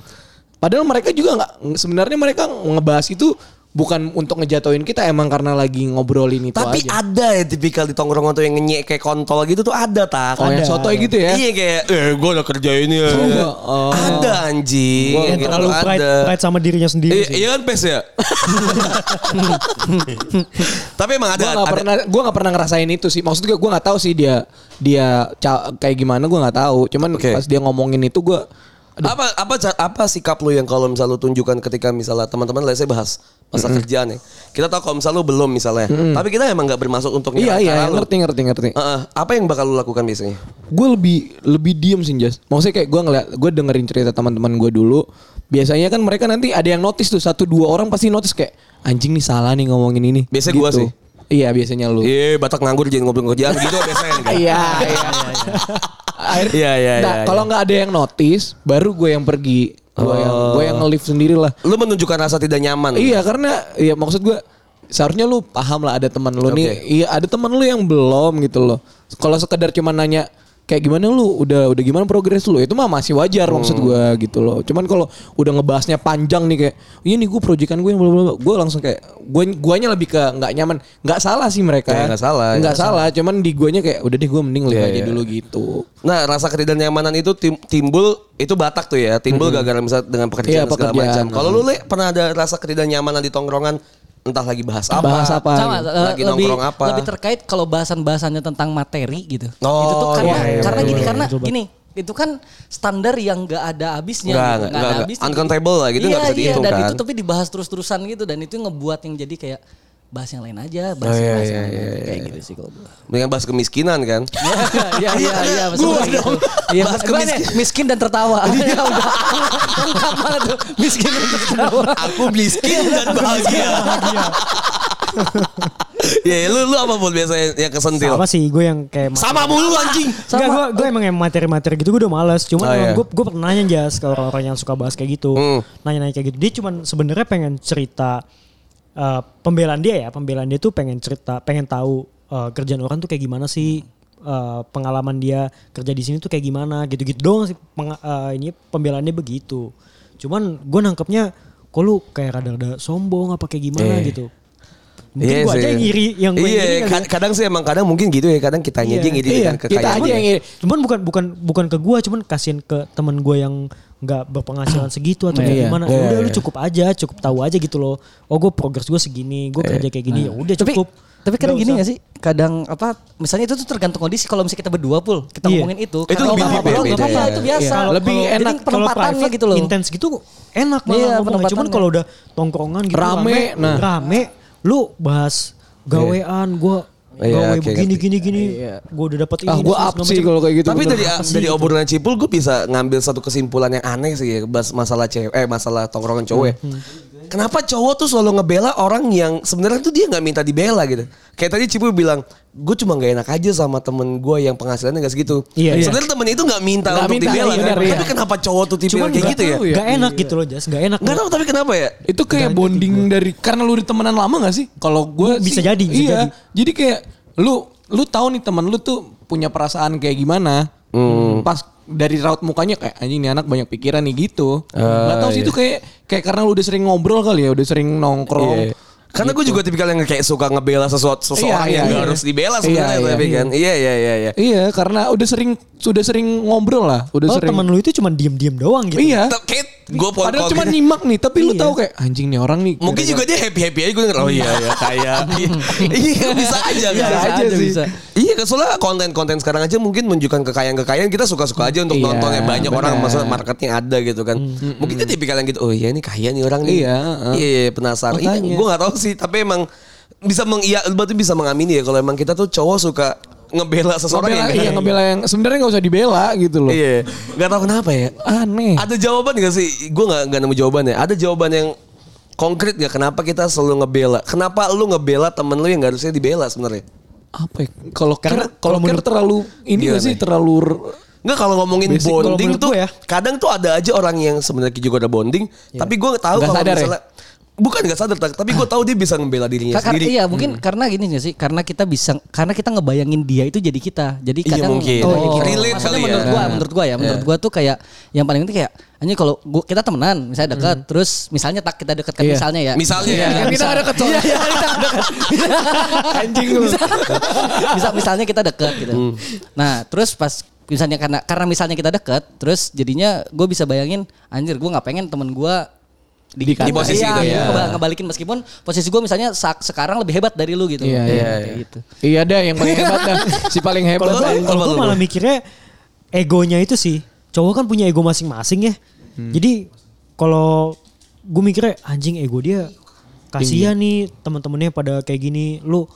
Padahal mereka juga nggak sebenarnya mereka ngebahas itu bukan untuk ngejatuhin kita emang karena lagi ngobrolin itu
Tapi
Gitu aja.
ada ya tipikal di tongkrongan tuh yang ngenyek kayak kontol gitu tuh ada tak.
Oh, yang
Ada.
sotoy gitu ya?
Iya kayak eh gue udah kerja ini ya.
Iya. Oh.
Ada anjing.
Yang
yang gitu
terlalu pride,
ada.
pride sama dirinya sendiri
I-
sih.
iya kan pes ya. Tapi emang
Gue
ada.
nggak
ada-
pernah gue nggak pernah ngerasain itu sih. Maksud gue gue nggak tahu sih dia dia ca- kayak gimana gue nggak tahu. Cuman
Oke.
pas dia ngomongin itu gue
Apa apa ca- apa sikap lu yang kalau misal lu tunjukkan ketika misalnya teman-teman let's say bahas masa kerjaan ya. Kita tahu kalau misal lu belum misalnya. ya. Tapi kita emang nggak bermaksud untuk nyerang
iya iya
cara lu.
ngerti ngerti ngerti.
Heeh. apa yang bakal lu lakukan biasanya?
gue lebih lebih diem sih Jas. Maksudnya kayak gue ngeliat, gue dengerin cerita teman-teman gue dulu. Biasanya kan mereka nanti ada yang notice tuh satu dua orang pasti notice kayak anjing nih salah nih ngomongin ini.
Biasanya gua sih.
Iya biasanya lu.
Iya, Batak nganggur jangan ngobrol kerjaan gitu biasanya. kan?
Iya iya. Akhir-
Iya, iya,
Nah,
iya,
Kalau
iya.
nggak ada yang notice, baru gue yang pergi. Gue yang gue
Oh.
yang nge-leave sendiri lah.
Lu menunjukkan rasa tidak nyaman.
Iya karena ya maksud gue seharusnya lu paham lah ada teman lu nih. Iya ada teman lu yang belum gitu loh. Kalau sekedar cuma nanya kayak gimana lu udah udah gimana progres lu itu mah masih wajar
Hmm.
maksud gue gitu loh. Cuman kalau udah ngebahasnya panjang nih kayak ini gue proyekan gue yang belum gue langsung kayak gue guanya lebih ke nggak nyaman nggak salah sih mereka
Ya, nggak salah, ya,
nggak
nggak
salah. cuman di guanya kayak udah deh gue mending lihat
Iya,
aja
iya.
dulu gitu
Nah, rasa ketidaknyamanan itu tim- timbul itu Batak tuh ya, timbul gara-gara misalnya dengan pekerjaan
Iya,
segala
pekerjaan.
macam. Kalau lu Le, pernah ada rasa ketidaknyamanan di tongkrongan entah lagi bahas apa?
bahas apa
sama
gitu.
eh,
Lagi
lebih
nongkrong apa?
lebih terkait kalau bahasan-bahasannya tentang materi gitu.
Oh,
itu tuh karena
iya,
iya,
karena
betul,
gini
betul,
karena
betul, betul.
gini itu kan standar yang nggak ada habisnya
Nggak,
gitu,
nggak,
nggak
nggak,
ada
nggak.
habisnya.
Uncountable lah gitu,
Iya,
nggak bisa
iya,
dihitung
dan
kan.
itu tapi dibahas terus-terusan gitu dan itu ngebuat yang jadi kayak bahas yang lain aja,
Oh,
bahas yang
iya,
bahas
iya,
yang lain.
iya,
kayak
iya.
gitu sih kalau gua.
Dengan bahas kemiskinan kan?
Iya, iya, iya, betul
Gua
gitu.
dong.
Iya,
Bahas
bahas miskin. miskin dan tertawa. Iya, udah. Lengkap banget tuh. Miskin dan tertawa.
Aku miskin dan bahagia. Ya, lu lu apa buat biasanya yang kesentil?
Sama sih gue yang kayak
Sama mulu anjing.
Enggak, gue, gue emang yang materi-materi gitu gue udah males. Cuman
Oh,
emang
iya. Hmm.
gue, gue pernah nanya jas ke orang-orang yang suka bahas kayak gitu. Nanya-nanya kayak gitu. Dia cuman sebenarnya pengen cerita eh, pembelaan dia ya. Pembelaan dia tuh pengen cerita, pengen tahu eh, kerjaan orang tuh kayak gimana sih. eh, pengalaman dia kerja di sini tuh kayak gimana gitu-gitu doang sih. Peng- eh, ini pembelaannya begitu. Cuman gue nangkepnya kok lu kayak rada-rada sombong apa kayak gimana
Iya.
gitu. Mungkin
Iya
gue aja
sih.
yang iri, yang gue
Iya,
iri kali ya.
kad- kadang sih emang kadang mungkin gitu ya, kadang kita aja
Iya,
yang iri
iya,
dengan
kita
kekayaan.
aja
dia.
yang iri.
Cuman bukan bukan bukan ke gua, cuman kasihin ke temen gua yang nggak berpenghasilan segitu atau kayak
Iya.
gimana. Ya udah lu cukup aja, cukup tahu aja gitu loh. Oh, gua progres gua segini, gua kerja kayak gini. Ya udah
Nah. tapi
cukup.
tapi kadang
Nggak
gini ya,
usah.
gak sih kadang apa misalnya itu tuh tergantung kondisi kalau misalnya kita berdua pul kita
Iya.
ngomongin itu
Itu
kalau
lebih
nggak
beda-
ngobrol nggak
beda
apa-apa
ya.
itu biasa
Iya. Lebih
Kalau-
enak
jadi penempatannya gitu loh
Intens gitu enak
Iya,
malah ngomongnya.
penempatannya.
Cuman kalau udah tongkrongan gitu
Rame, nah.
rame, lu bahas gawean gua
Iya,
gawe
oke,
begini
ngerti.
gini gini. Gua udah
Iya,
dapet ini.
ah
ini,
gue
segala
up sih
macam.
kalau kayak gitu
Tapi
bener.
dari dari obrolan Cipul gue bisa ngambil satu kesimpulan yang aneh sih ya, bas masalah cewek eh masalah tongkrongan cowok. ya.
Hmm,
Kenapa cowok tuh selalu ngebela orang yang sebenarnya tuh dia nggak minta dibela gitu. Kayak tadi Cipul bilang, gue cuma nggak enak aja sama temen gue yang penghasilannya nggak segitu.
Iya, iya.
sebenarnya temen itu nggak minta
Nggak
untuk
minta,
dibela
iya,
kan.
benar, iya.
Tapi kenapa cowok tuh tipe
Cuman
kayak gitu ya?
ya?
Gak enak gitu loh, Jas. Gak enak.
Nggak tahu tapi kenapa ya?
itu kayak bonding dari karena lu di temenan lama gak sih? Kalau gue
Bisa jadi, bisa
iya. Jadi. kayak lu lu tahu nih teman lu tuh punya perasaan kayak gimana?
Hmm.
Pas dari raut mukanya kayak anjing nih anak banyak pikiran nih gitu.
Ah,
Gak tahu sih
iya.
itu kayak kayak karena lu udah sering ngobrol kali ya, udah sering nongkrong.
Iya. Karena gue juga tipikal yang kayak suka ngebela sesuatu seseorang
Gitu. Iya,
yang
iya,
nggak
iya.
harus dibela
Iya,
sebenarnya
iya,
tapi kan. Iya iya iya iya.
Iya, karena udah sering sudah sering ngobrol lah, udah
Oh,
sering.
temen lu itu cuma diem-diem doang gitu.
iya.
Tapi Kayak gue
Padahal cuma nyimak nih, tapi lu
Iya.
tahu kayak anjing nih orang nih.
Mungkin juga dia happy happy aja gue denger. Oh iya ya kaya. Iya, Iya bisa aja
Bisa
kan.
aja sih.
bisa.
Iya kan, soalnya konten-konten sekarang aja mungkin menunjukkan kekayaan-kekayaan kita suka-suka aja untuk
Iya,
nonton ya banyak
benar. Mm,
orang maksudnya marketnya ada gitu kan. Mungkin dia tipikal yang gitu. Oh iya ini kaya nih orang nih.
Iya, heeh.
Iya iya, penasaran. Iya,
Makanya.
gue gak tahu sih tapi emang bisa meng iya, berarti bisa mengamini ya kalau emang kita tuh cowok suka ngebela seseorang
ngebela,
yang
iya, ngebela yang sebenarnya nggak usah dibela gitu loh.
Iya, nggak tahu kenapa ya.
Aneh.
Ada jawaban gak sih? Gue gak, nggak nemu jawabannya. Ada jawaban yang konkret gak? Kenapa kita selalu ngebela? Kenapa lu ngebela temen lu yang gak harusnya dibela sebenarnya?
apa ya? kalau
Karena
karena kalau
kalau menurut-
menurut terlalu ini
Gimana
gak sih
ya?
terlalu r-
Nggak kalau ngomongin
Basic kalau
bonding
menurut
tuh
gue ya.
kadang tuh ada aja orang yang sebenarnya juga ada bonding, tapi gue tahu
Nggak
kalau
sadar ya?
misalnya bukan nggak sadar tak- tapi gue tahu dia bisa membela dirinya
Kar-
sendiri. Hmm.
Iya mungkin karena gini nggak sih karena kita bisa karena kita ngebayangin dia itu jadi kita jadi
Iya,
kadang
mungkin.
Oh,
Oh,
gitu.
relate
Maksudnya
kali ya. Iya.
menurut gua menurut gua ya menurut gua tuh kayak yang paling penting kayak ini kalau gua, kita temenan misalnya dekat
Hmm.
terus misalnya tak kita dekat kan
Iya.
misalnya ya
Misalnya ya.
Iya,
Kita
misal- Iya, iya, kita nggak deket anjing lu bisa misalnya kita deket gitu
Hmm.
nah terus pas misalnya karena karena misalnya kita deket terus jadinya gue bisa bayangin anjir gue nggak pengen temen gue
di,
Di posisi
iya,
itu ya.
ngebal- ngebalikin meskipun posisi gue misalnya sa- sekarang lebih hebat dari lu gitu.
Iya,
Kayak
iya,
iya.
gitu.
Iya dah yang paling hebat dah. Si paling hebat.
Kalau
dah.
lu-
Kalau gue malah mikirnya egonya itu sih. Cowok kan punya ego masing-masing ya.
Hmm.
Jadi kalau gue mikirnya anjing ego dia kasihan nih teman-temannya pada kayak gini. Lu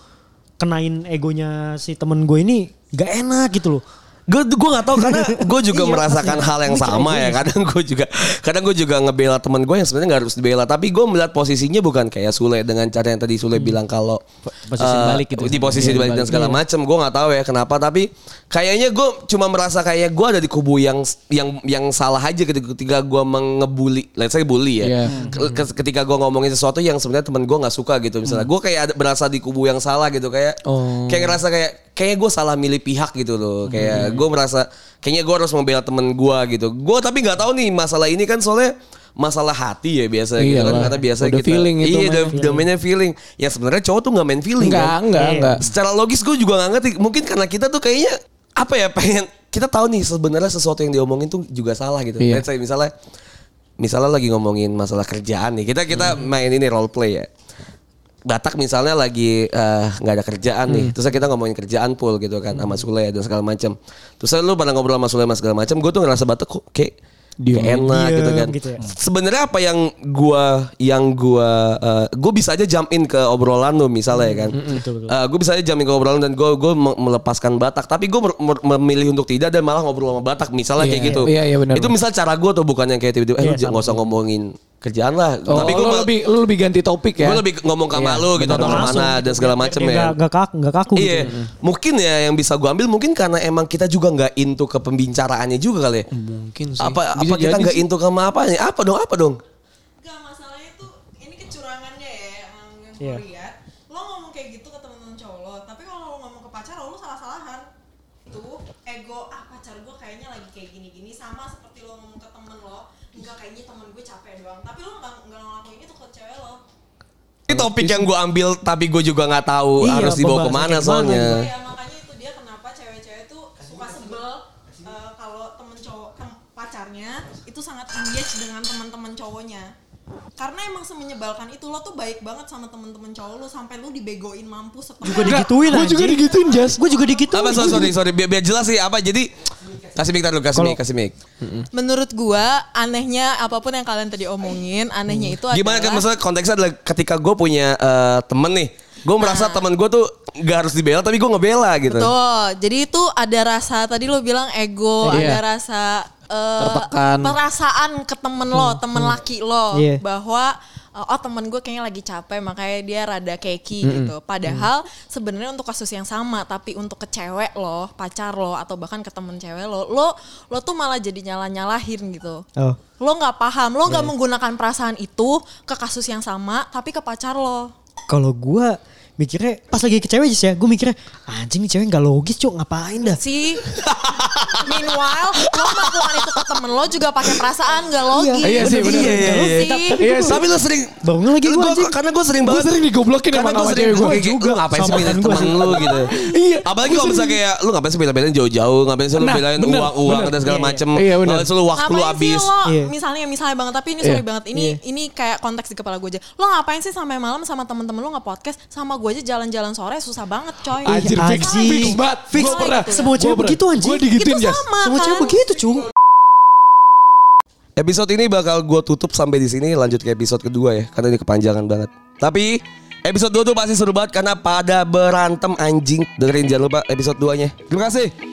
kenain egonya si temen gue ini gak enak gitu loh.
Gue gue nggak tahu karena gue juga
Iya,
merasakan
makanya.
hal yang
Mikir
sama
aja.
ya. Kadang gue juga kadang gue juga ngebela teman gue yang sebenarnya nggak harus dibela, tapi gue melihat posisinya bukan kayak Sule dengan cara yang tadi Sule bilang kalau
posisi
eh,
balik gitu.
di posisi balik dan segala macem. Gue nggak tahu ya kenapa, tapi kayaknya gue cuma merasa kayak gue ada di kubu yang yang yang salah aja ketika- ketika gue mengebully, let's say bully ya.
Iya.
Ke- ke- Ketika gue ngomongin sesuatu yang sebenarnya teman gue nggak suka gitu misalnya, gue kayak ada- berasa di kubu yang salah gitu kayak
Hmm. Oh.
kayak ngerasa kayak kayaknya gue salah milih pihak gitu loh
Hmm.
kayak gue merasa kayaknya gue harus membela temen gue gitu gue tapi nggak tahu nih masalah ini kan soalnya masalah hati ya biasa gitu kan
Iyalah.
karena biasa
Udah
kita
feeling itu
iya
main
udah domainnya feeling ya sebenarnya cowok tuh nggak main feeling
Enggak,
kan
enggak,
Iya.
enggak.
secara logis gue juga nggak ngerti mungkin karena kita tuh kayaknya apa ya pengen kita tahu nih sebenarnya sesuatu yang diomongin tuh juga salah gitu
Iya.
Let's say misalnya misalnya lagi ngomongin masalah kerjaan nih kita kita
Hmm.
main ini role play ya Batak misalnya lagi eh, nggak ada kerjaan nih,
Hmm.
terus kita ngomongin kerjaan pool gitu kan sama Sule dan segala macam. Terus lu pada ngobrol sama Sule sama segala macam, gue tuh ngerasa Batak kok kayak
Diem.
kayak enak
Diem
gitu kan.
gitu ya.
Sebenarnya apa yang gua yang gua eh, gua bisa aja jump in ke obrolan lu misalnya ya
Hmm,
kan. Eh, gua bisa aja jump in ke obrolan dan gua gua me- melepaskan Batak, tapi gua mer- mer- memilih untuk tidak dan malah ngobrol sama Batak misalnya kayak
Iya,
gitu.
iya, iya, benar,
Itu misal cara gua tuh bukan yang kayak tiba-tiba eh lu j-
Iya, sama.
nggak usah ngomongin kerjaan lah.
Oh,
tapi
lu
gua mal-
lebih lu lebih ganti topik ya.
Gue lebih ngomong ke sama lu gitu atau
Langsung
kemana
gitu,
dan segala
biar
macem
dia
ya.
Gak, gak kaku, gak kaku
Iya,
gitu.
mungkin ya yang bisa gue ambil mungkin karena emang kita juga nggak into ke pembicaraannya juga kali. ya.
mungkin sih.
Apa
Bisa
apa kita
jadi
nggak
sih.
into ke sama apa nih? Apa dong? Apa dong?
Enggak masalahnya tuh ini kecurangannya ya yang yang
Iya.
gue lihat. Lo ngomong kayak gitu ke temen-temen cowok lo, tapi kalau lo ngomong ke pacar lo, lo salah-salahan. Tuh ego ah pacar gue kayaknya lagi kayak gini-gini sama seperti lo ngomong ke temen lo, enggak kayaknya temen gue capek doang. Tapi lo enggak enggak ngelakuin itu ke cewek lo.
Ini topik yang gue ambil tapi gue juga nggak tahu
Iya,
harus dibawa
pembahasan
kemana
kayak
soalnya.
gimana
Ya makanya itu dia kenapa cewek-cewek tuh suka sebel eh, kalau temen cowok tem- pacarnya itu sangat engage dengan teman-teman cowoknya. Karena emang semenyebalkan itu lo tuh baik banget sama temen-temen cowok lo sampai lo dibegoin mampus setengah.
Juga digituin
Gue juga
anjing.
digituin Jas.
Gue juga digituin.
Apa sorry sorry, sorry. Biar, biar jelas sih apa. Jadi kasih mic tar dulu kasih
Kalau-
mic kasih mic.
Menurut gua anehnya apapun yang kalian tadi omongin, anehnya itu
Gimana
adalah
kan maksudnya konteksnya adalah ketika gue punya eh, temen nih, gue merasa temen gue tuh nggak harus dibela tapi gue ngebela gitu.
Betul. Jadi itu ada rasa tadi lo bilang ego,
Iya.
ada rasa eh,
Tertekan.
perasaan ke temen lo, temen laki lo
Iya.
bahwa eh, oh temen gue kayaknya lagi capek makanya dia rada keki gitu. Padahal sebenarnya untuk kasus yang sama tapi untuk ke cewek lo, pacar lo atau bahkan ke temen cewek lo, lo lo tuh malah jadi nyala-nyalahin gitu.
Oh.
Lo nggak paham, lo nggak menggunakan perasaan itu ke kasus yang sama tapi ke pacar lo.
Kalau gue mikirnya pas lagi ke cewek aja ya, gue mikirnya anjing nih cewek gak logis cok ngapain dah.
sih. Meanwhile, lo melakukan itu ke temen lo juga pakai perasaan gak logis.
Iya sih, bener.
Gitu
Iya, iya, iya.
sih.
Iya sih.
Tapi lu sering
Bangun lagi
Lu
gue
gua-
anjing.
karena gue sering
Gua
banget
sering digoblokin
karena
emang
gue
sama
sering
cewek
gue
gue.
juga lu ngapain sih
Sama
belain
temen gua
temen
sih.
lu gitu
Iya.
apalagi kalau misalnya kayak lu ngapain sih bela-belain jauh-jauh ngapain sih lu
Nah,
belain
bener,
uang uang
bener.
dan segala
Iya, iya.
macem
Iya, bener.
Malah lu waktu lu
Ngapain sih
habis
lo?
Iya.
Misalnya misalnya banget tapi ini sorry
Iya.
banget. Ini ini kayak konteks di kepala gue aja. Lo ngapain sih sampai malam sama temen-temen lo nggak podcast sama gue aja jalan-jalan sore susah banget coy.
Anjir fix
Anjing.
Iya. fix banget.
Fix.
Gua pernah.
Semua cewek begitu, anjing.
Gue
Itu
digituin Jas.
sama
Semua cewek
kan.
begitu cuy.
episode ini bakal gue tutup sampai di sini lanjut ke episode kedua ya karena ini kepanjangan banget tapi episode 2 tuh pasti seru banget karena pada berantem anjing dengerin jangan lupa episode 2 nya terima kasih